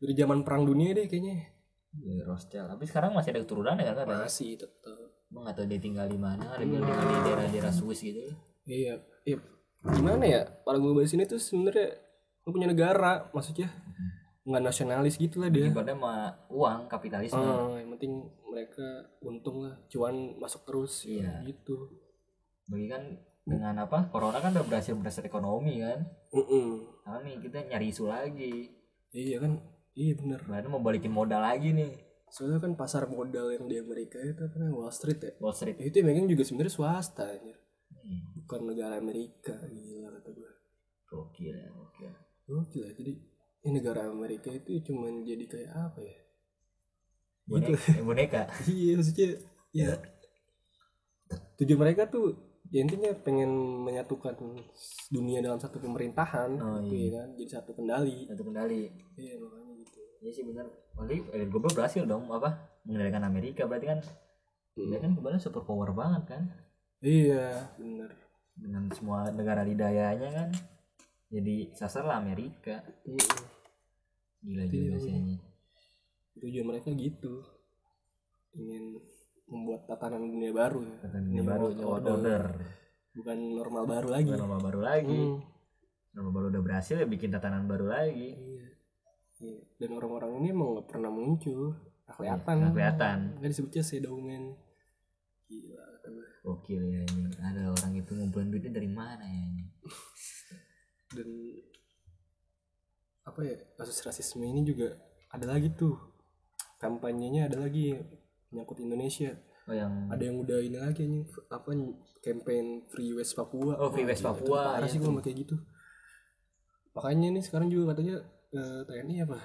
Speaker 2: dari zaman perang dunia deh kayaknya
Speaker 1: Iya, Rothschild tapi sekarang masih ada keturunan ya kan ada
Speaker 2: masih tetap
Speaker 1: emang nggak tahu dia tinggal di mana ada yang tinggal di daerah-daerah Swiss gitu
Speaker 2: iya iya gimana ya para global sini tuh sebenarnya lu punya negara maksudnya nggak nasionalis gitu lah dia
Speaker 1: ibaratnya sama uang kapitalisme
Speaker 2: Ah, yang penting mereka untung lah cuan masuk terus ya,
Speaker 1: Iya.
Speaker 2: gitu
Speaker 1: bagi kan dengan apa corona kan udah berhasil berhasil ekonomi kan
Speaker 2: Mm-mm.
Speaker 1: kami kita nyari isu lagi
Speaker 2: iya kan iya bener
Speaker 1: Ibaratnya mau balikin modal lagi nih
Speaker 2: soalnya kan pasar modal yang di Amerika itu apa namanya Wall Street ya
Speaker 1: Wall Street
Speaker 2: itu yang megang juga sebenarnya swasta anjir.
Speaker 1: hmm.
Speaker 2: bukan negara Amerika gila kata gue
Speaker 1: gokil ya, gokil
Speaker 2: Gokil ya, jadi ini negara Amerika itu cuman jadi kayak apa ya
Speaker 1: boneka, eh, boneka.
Speaker 2: iya maksudnya ya tujuan mereka tuh ya intinya pengen menyatukan dunia dalam satu pemerintahan
Speaker 1: Oh,
Speaker 2: gitu
Speaker 1: iya.
Speaker 2: ya kan jadi satu kendali
Speaker 1: satu kendali
Speaker 2: iya makanya gitu
Speaker 1: Iya sih benar. Berarti elit global berhasil dong apa mengendalikan Amerika berarti kan dia kan kebetulan super power banget kan
Speaker 2: iya bener
Speaker 1: dengan semua negara didayanya kan jadi sasar lah Amerika
Speaker 2: Iya.
Speaker 1: gila
Speaker 2: Iya,
Speaker 1: juga sih
Speaker 2: iya.
Speaker 1: ini.
Speaker 2: tujuan mereka gitu ingin membuat tatanan dunia baru ya
Speaker 1: Kata dunia baru
Speaker 2: New
Speaker 1: new
Speaker 2: world
Speaker 1: world order
Speaker 2: bukan normal baru lagi
Speaker 1: Bukan norma baru lagi
Speaker 2: Iya. Hmm.
Speaker 1: norma baru udah berhasil ya bikin tatanan baru lagi
Speaker 2: Iya. Iya. Dan orang-orang ini emang nggak pernah muncul. Nggak kelihatan.
Speaker 1: Iya, nggak kelihatan.
Speaker 2: Nggak disebutnya shadow man. Gila. kata gue.
Speaker 1: oke ya ini ada orang itu ngumpulin duitnya dari mana ya ini
Speaker 2: Dan apa ya kasus rasisme ini juga ada lagi tuh kampanyenya ada lagi menyangkut Indonesia
Speaker 1: oh yang
Speaker 2: ada yang udah ini lagi anjing apa campaign Free West Papua
Speaker 1: Oh, Free
Speaker 2: Wah,
Speaker 1: West
Speaker 2: gila, itu
Speaker 1: Papua,
Speaker 2: parah
Speaker 1: iya
Speaker 2: sih
Speaker 1: tuh.
Speaker 2: kalau sama kayak gitu makanya nih sekarang juga katanya eh, TNI apa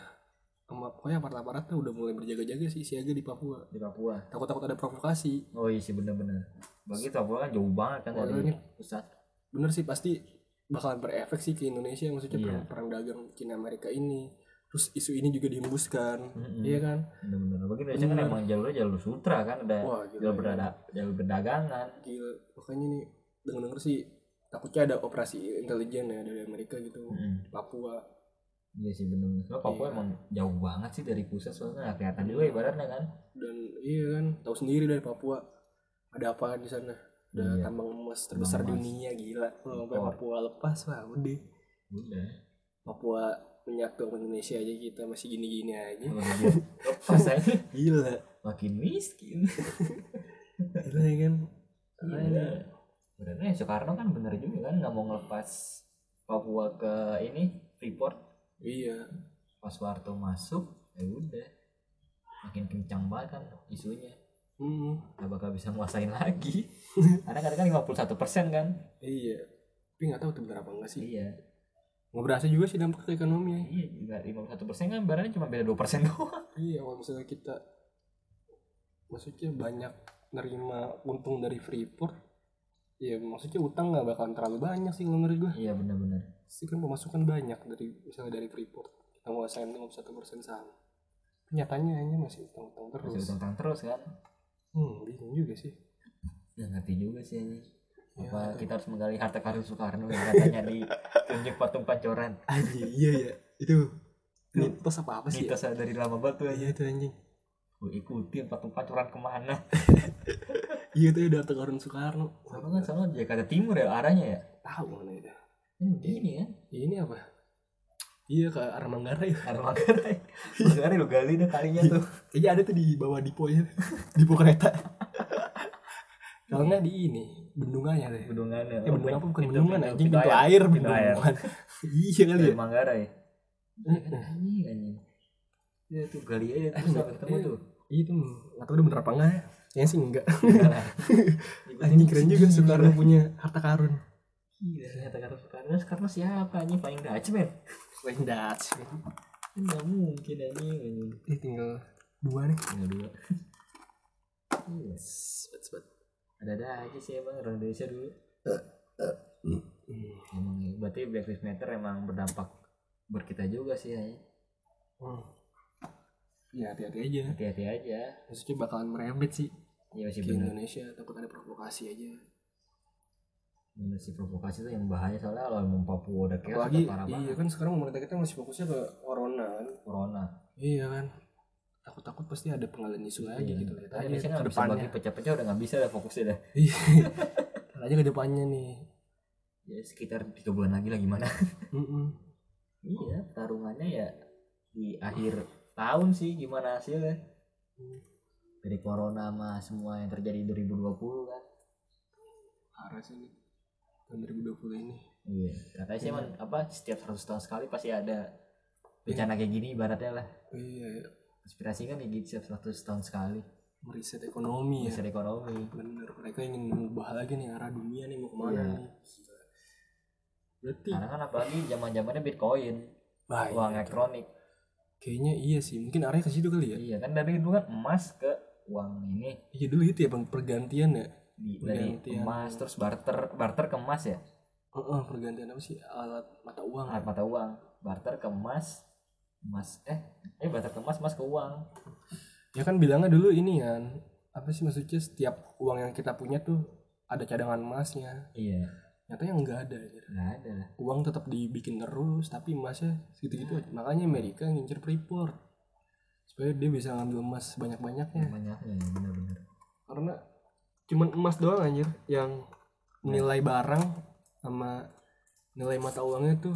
Speaker 2: sama pokoknya aparat-aparat tuh udah mulai berjaga-jaga sih siaga di Papua
Speaker 1: di Papua
Speaker 2: takut-takut ada provokasi
Speaker 1: oh iya sih bener-bener bagi Papua kan jauh banget kan
Speaker 2: Waduh,
Speaker 1: dari
Speaker 2: ini-
Speaker 1: pusat
Speaker 2: bener sih pasti bakalan berefek sih ke Indonesia maksudnya
Speaker 1: Iya.
Speaker 2: perang, perang dagang Cina Amerika ini terus isu ini juga dihembuskan
Speaker 1: Mm-mm.
Speaker 2: iya kan
Speaker 1: bener-bener bagi Indonesia kan
Speaker 2: Bener.
Speaker 1: emang jalurnya jalur sutra kan udah
Speaker 2: wah iya.
Speaker 1: jalur
Speaker 2: gila,
Speaker 1: berada
Speaker 2: gila,
Speaker 1: jalur perdagangan
Speaker 2: Gila. makanya nih denger denger sih takutnya ada operasi intelijen ya dari Amerika gitu
Speaker 1: Mm-mm.
Speaker 2: Papua
Speaker 1: Iya sih bener Soalnya Papua
Speaker 2: Iya.
Speaker 1: emang jauh banget sih dari pusat soalnya nggak kelihatan juga ibaratnya kan.
Speaker 2: dan iya kan tahu sendiri dari Papua ada apa di sana ada
Speaker 1: Iya.
Speaker 2: tambang emas terbesar
Speaker 1: Tambang emas.
Speaker 2: dunia gila kalau sampai
Speaker 1: Impor.
Speaker 2: Papua lepas wah udah
Speaker 1: Udah.
Speaker 2: Papua menyatu sama Indonesia aja kita masih gini-gini aja
Speaker 1: Kalau dia lepas aja
Speaker 2: gila
Speaker 1: makin miskin.
Speaker 2: gila ya kan
Speaker 1: Iya. Sebenarnya Soekarno kan bener juga kan nggak mau ngelepas Papua ke ini Freeport.
Speaker 2: iya
Speaker 1: Pas Soeharto masuk, ya udah makin kencang banget kan isunya
Speaker 2: Mm,
Speaker 1: nggak bakal bisa nguasain lagi karena kadang kan 51 kan
Speaker 2: iya. Tapi nggak tahu tuh bener apa enggak sih.
Speaker 1: iya
Speaker 2: Nggak berasa juga sih dampak ke ekonomi. ya.
Speaker 1: iya nggak 51 kan barangnya cuma beda 2 doang
Speaker 2: Iya, kalau misalnya kita maksudnya banyak nerima untung dari Freeport, ya maksudnya utang nggak bakalan terlalu banyak sih kalau menurut gue.
Speaker 1: iya bener-bener
Speaker 2: Pasti kan pemasukan banyak dari misalnya dari Freeport. Kita nguasain 51 persen saham. Nyatanya hanya masih utang-utang
Speaker 1: masih
Speaker 2: terus.
Speaker 1: utang terus kan
Speaker 2: Hmm, bingung juga sih.
Speaker 1: Nggak ngerti juga sih Iya, ini.
Speaker 2: Ya,
Speaker 1: Apa
Speaker 2: betul.
Speaker 1: kita harus menggali harta karun Soekarno yang katanya ditunjuk patung pancoran.
Speaker 2: Anjing, iya ya. Itu mitos apa apa sih? ya?
Speaker 1: Mitosnya dari lama banget tuh aja.
Speaker 2: Iya itu anjing.
Speaker 1: Gue ikutin patung pancoran kemana.
Speaker 2: Iya itu ada harta karun Soekarno.
Speaker 1: Sama kan sama Jakarta Timur ya arahnya ya.
Speaker 2: Tahu mana itu?
Speaker 1: Hmm, gini kan.
Speaker 2: ini apa iya ke arah Manggarai
Speaker 1: Arah Manggarai. Manggarai lu gali deh kalinya tuh.
Speaker 2: iya ada tuh di bawah dipo ya dipo kereta kalau nggak di ini bendungannya deh
Speaker 1: Bendungannya. Oh,
Speaker 2: eh bendungan apa bukan
Speaker 1: Pintu-
Speaker 2: bendungan
Speaker 1: pintu-
Speaker 2: anjing
Speaker 1: pintu
Speaker 2: pintu air
Speaker 1: Pintu air.
Speaker 2: bendungan iya kali
Speaker 1: Dari
Speaker 2: ya
Speaker 1: Manggarai.
Speaker 2: Eh,
Speaker 1: Iya kan, Anjing anjing. Ya tuh gali aja terus
Speaker 2: Anjing,
Speaker 1: sampai ketemu
Speaker 2: iya.
Speaker 1: tuh.
Speaker 2: itu nggak tahu udah bener apa enggak ya ya sih enggak
Speaker 1: Iya lah. Ikutin
Speaker 2: anjing keren juga
Speaker 1: segini.
Speaker 2: Soekarno punya harta karun
Speaker 1: Gila, ternyata Karno Soekarno. Soekarno siapa anjing paling Dutch men?
Speaker 2: lain dats
Speaker 1: Enggak mungkin anjing anjing.
Speaker 2: ini tinggal dua nih
Speaker 1: Tinggal dua. Iya,
Speaker 2: Sebet, sebet.
Speaker 1: Ada-ada aja sih emang orang Indonesia dulu.
Speaker 2: Iya.
Speaker 1: Emang ya, berarti Black Lives Matter emang berdampak buat kita juga sih ya.
Speaker 2: Hmm. ya hati-hati aja
Speaker 1: Hati-hati aja.
Speaker 2: maksudnya bakalan merembet sih
Speaker 1: Ya masih
Speaker 2: ke
Speaker 1: benar.
Speaker 2: Indonesia takut ada provokasi aja
Speaker 1: Bener sih provokasi tuh yang bahaya soalnya kalau mau Papua udah kayak
Speaker 2: apalagi
Speaker 1: sudah parah
Speaker 2: iya
Speaker 1: banget
Speaker 2: kan sekarang pemerintah kita masih fokusnya ke corona kan
Speaker 1: corona.
Speaker 2: iya kan takut-takut pasti ada pengalian isu lagi
Speaker 1: Iya.
Speaker 2: gitu lihat
Speaker 1: Nah,
Speaker 2: aja
Speaker 1: Indonesia
Speaker 2: ke
Speaker 1: kan bisa
Speaker 2: depannya
Speaker 1: bagi pecah-pecah udah nggak bisa dah fokusnya dah.
Speaker 2: iya Lihat aja ke depannya nih
Speaker 1: ya sekitar tiga bulan lagi lah gimana
Speaker 2: Mm-mm.
Speaker 1: iya tarungannya ya di akhir tahun sih gimana hasilnya dari corona sama semua yang terjadi 2020 kan
Speaker 2: Parah sih ini. Tahun 2020 ini.
Speaker 1: iya Iya. katanya sih emang apa setiap 100 tahun sekali pasti ada bencana kayak gini ibaratnya lah
Speaker 2: Iya, iya.
Speaker 1: inspirasi kan kayak gitu setiap 100 tahun sekali
Speaker 2: meriset ekonomi ya.
Speaker 1: Bisa ekonomi
Speaker 2: Bener, mereka ingin mengubah lagi nih arah dunia nih mau kemana
Speaker 1: Iya.
Speaker 2: nih. Gila. Berarti
Speaker 1: karena kan apalagi zaman zamannya bitcoin
Speaker 2: Wah, iya
Speaker 1: uang ya,
Speaker 2: tuh.
Speaker 1: elektronik
Speaker 2: kayaknya iya sih, mungkin arahnya ke situ kali ya.
Speaker 1: iya kan dari dulu kan emas ke uang ini
Speaker 2: Iya dulu itu ya bang pergantian ya.
Speaker 1: di, dari
Speaker 2: Pergantian.
Speaker 1: emas terus barter barter ke emas ya
Speaker 2: Heeh, pergantian apa sih? Alat mata uang.
Speaker 1: alat mata uang barter ke emas emas eh eh barter ke emas emas ke uang
Speaker 2: Ya kan bilangnya dulu ini ya. Apa sih maksudnya setiap uang yang kita punya tuh ada cadangan emasnya.
Speaker 1: iya
Speaker 2: Nyatanya nggak ada. ya.
Speaker 1: nggak ada
Speaker 2: Uang tetap dibikin terus, tapi emasnya segitu-gitu aja. Makanya Amerika ngincer Freeport supaya dia bisa ngambil emas banyak-banyaknya.
Speaker 1: namanya ya benar-benar
Speaker 2: karena cuman emas doang anjir yang nilai barang sama nilai mata uangnya tuh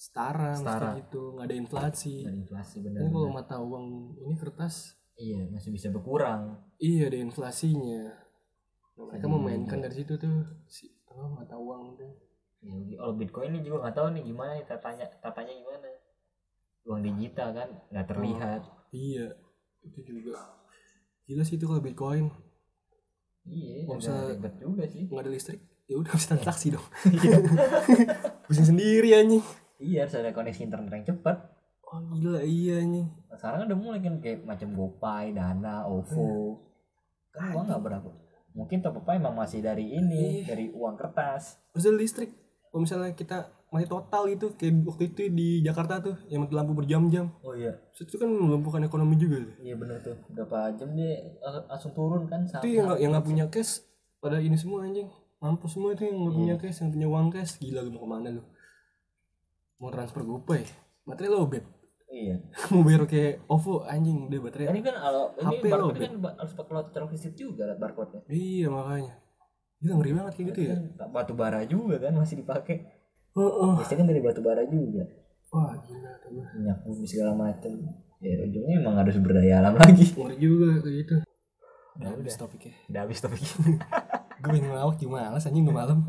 Speaker 2: setara, mesti
Speaker 1: Setara. Iya,
Speaker 2: gitu nggak ada inflasi
Speaker 1: dari inflasi benar
Speaker 2: ini kalau mata uang ini kertas
Speaker 1: iya masih bisa berkurang
Speaker 2: iya ada inflasinya Nah, mereka
Speaker 1: Iya,
Speaker 2: memainkan
Speaker 1: iya.
Speaker 2: dari situ tuh si apa, mata uang tuh
Speaker 1: ya kalau bitcoin ini juga nggak tahu nih gimana nih tatanya tatanya gimana uang digital kan nggak terlihat
Speaker 2: iya itu juga gila sih itu kalau bitcoin
Speaker 1: iya
Speaker 2: Nggak
Speaker 1: agak
Speaker 2: usah-
Speaker 1: ribet juga sih
Speaker 2: nggak ada listrik ya udah harus transaksi dong pusing sendiri anjing
Speaker 1: iya harus ada koneksi internet yang cepat
Speaker 2: oh gila iya anjing
Speaker 1: Nah, sekarang udah mulai kan kayak macam GoPay, Dana, OVO. Kan uang nggak berapa. Mungkin top up emang masih dari ini,
Speaker 2: Iya.
Speaker 1: dari uang kertas.
Speaker 2: Maksudnya listrik kalau misalnya kita masih total gitu kayak waktu itu di Jakarta tuh yang mati lampu berjam-jam
Speaker 1: Oh iya,
Speaker 2: Terus itu kan melumpuhkan ekonomi juga tuh.
Speaker 1: iya benar tuh. Berapa jam dia eh, langsung turun kan sama.
Speaker 2: itu yang nggak yang nggak punya cash pada ini semua anjing mampus semua itu yang nggak punya cash yang punya uang cash gila lu mau kemana lu mau transfer gopay baterai lobet
Speaker 1: Iya.
Speaker 2: mau bayar kayak OVO anjing deh baterai
Speaker 1: Ini kan kalau ini
Speaker 2: HP lo,
Speaker 1: barcode kan ba- harus pakai loter fisik juga alat barcode-nya.
Speaker 2: iya makanya gila ngeri banget kayak gitu ya
Speaker 1: Kan ba- batu bara juga kan masih dipakai.
Speaker 2: Heeh.
Speaker 1: Biasanya kan dari batu bara juga.
Speaker 2: wah gila tuh gua.
Speaker 1: Minyak bumi segala macam. Ya ujungnya emang harus berdaya alam lagi.
Speaker 2: ngeri juga kayak gitu
Speaker 1: Ya
Speaker 2: habis
Speaker 1: udah,
Speaker 2: topiknya
Speaker 1: udah habis tapi.
Speaker 2: gue pengen ngelawak cuma males anjing udah malam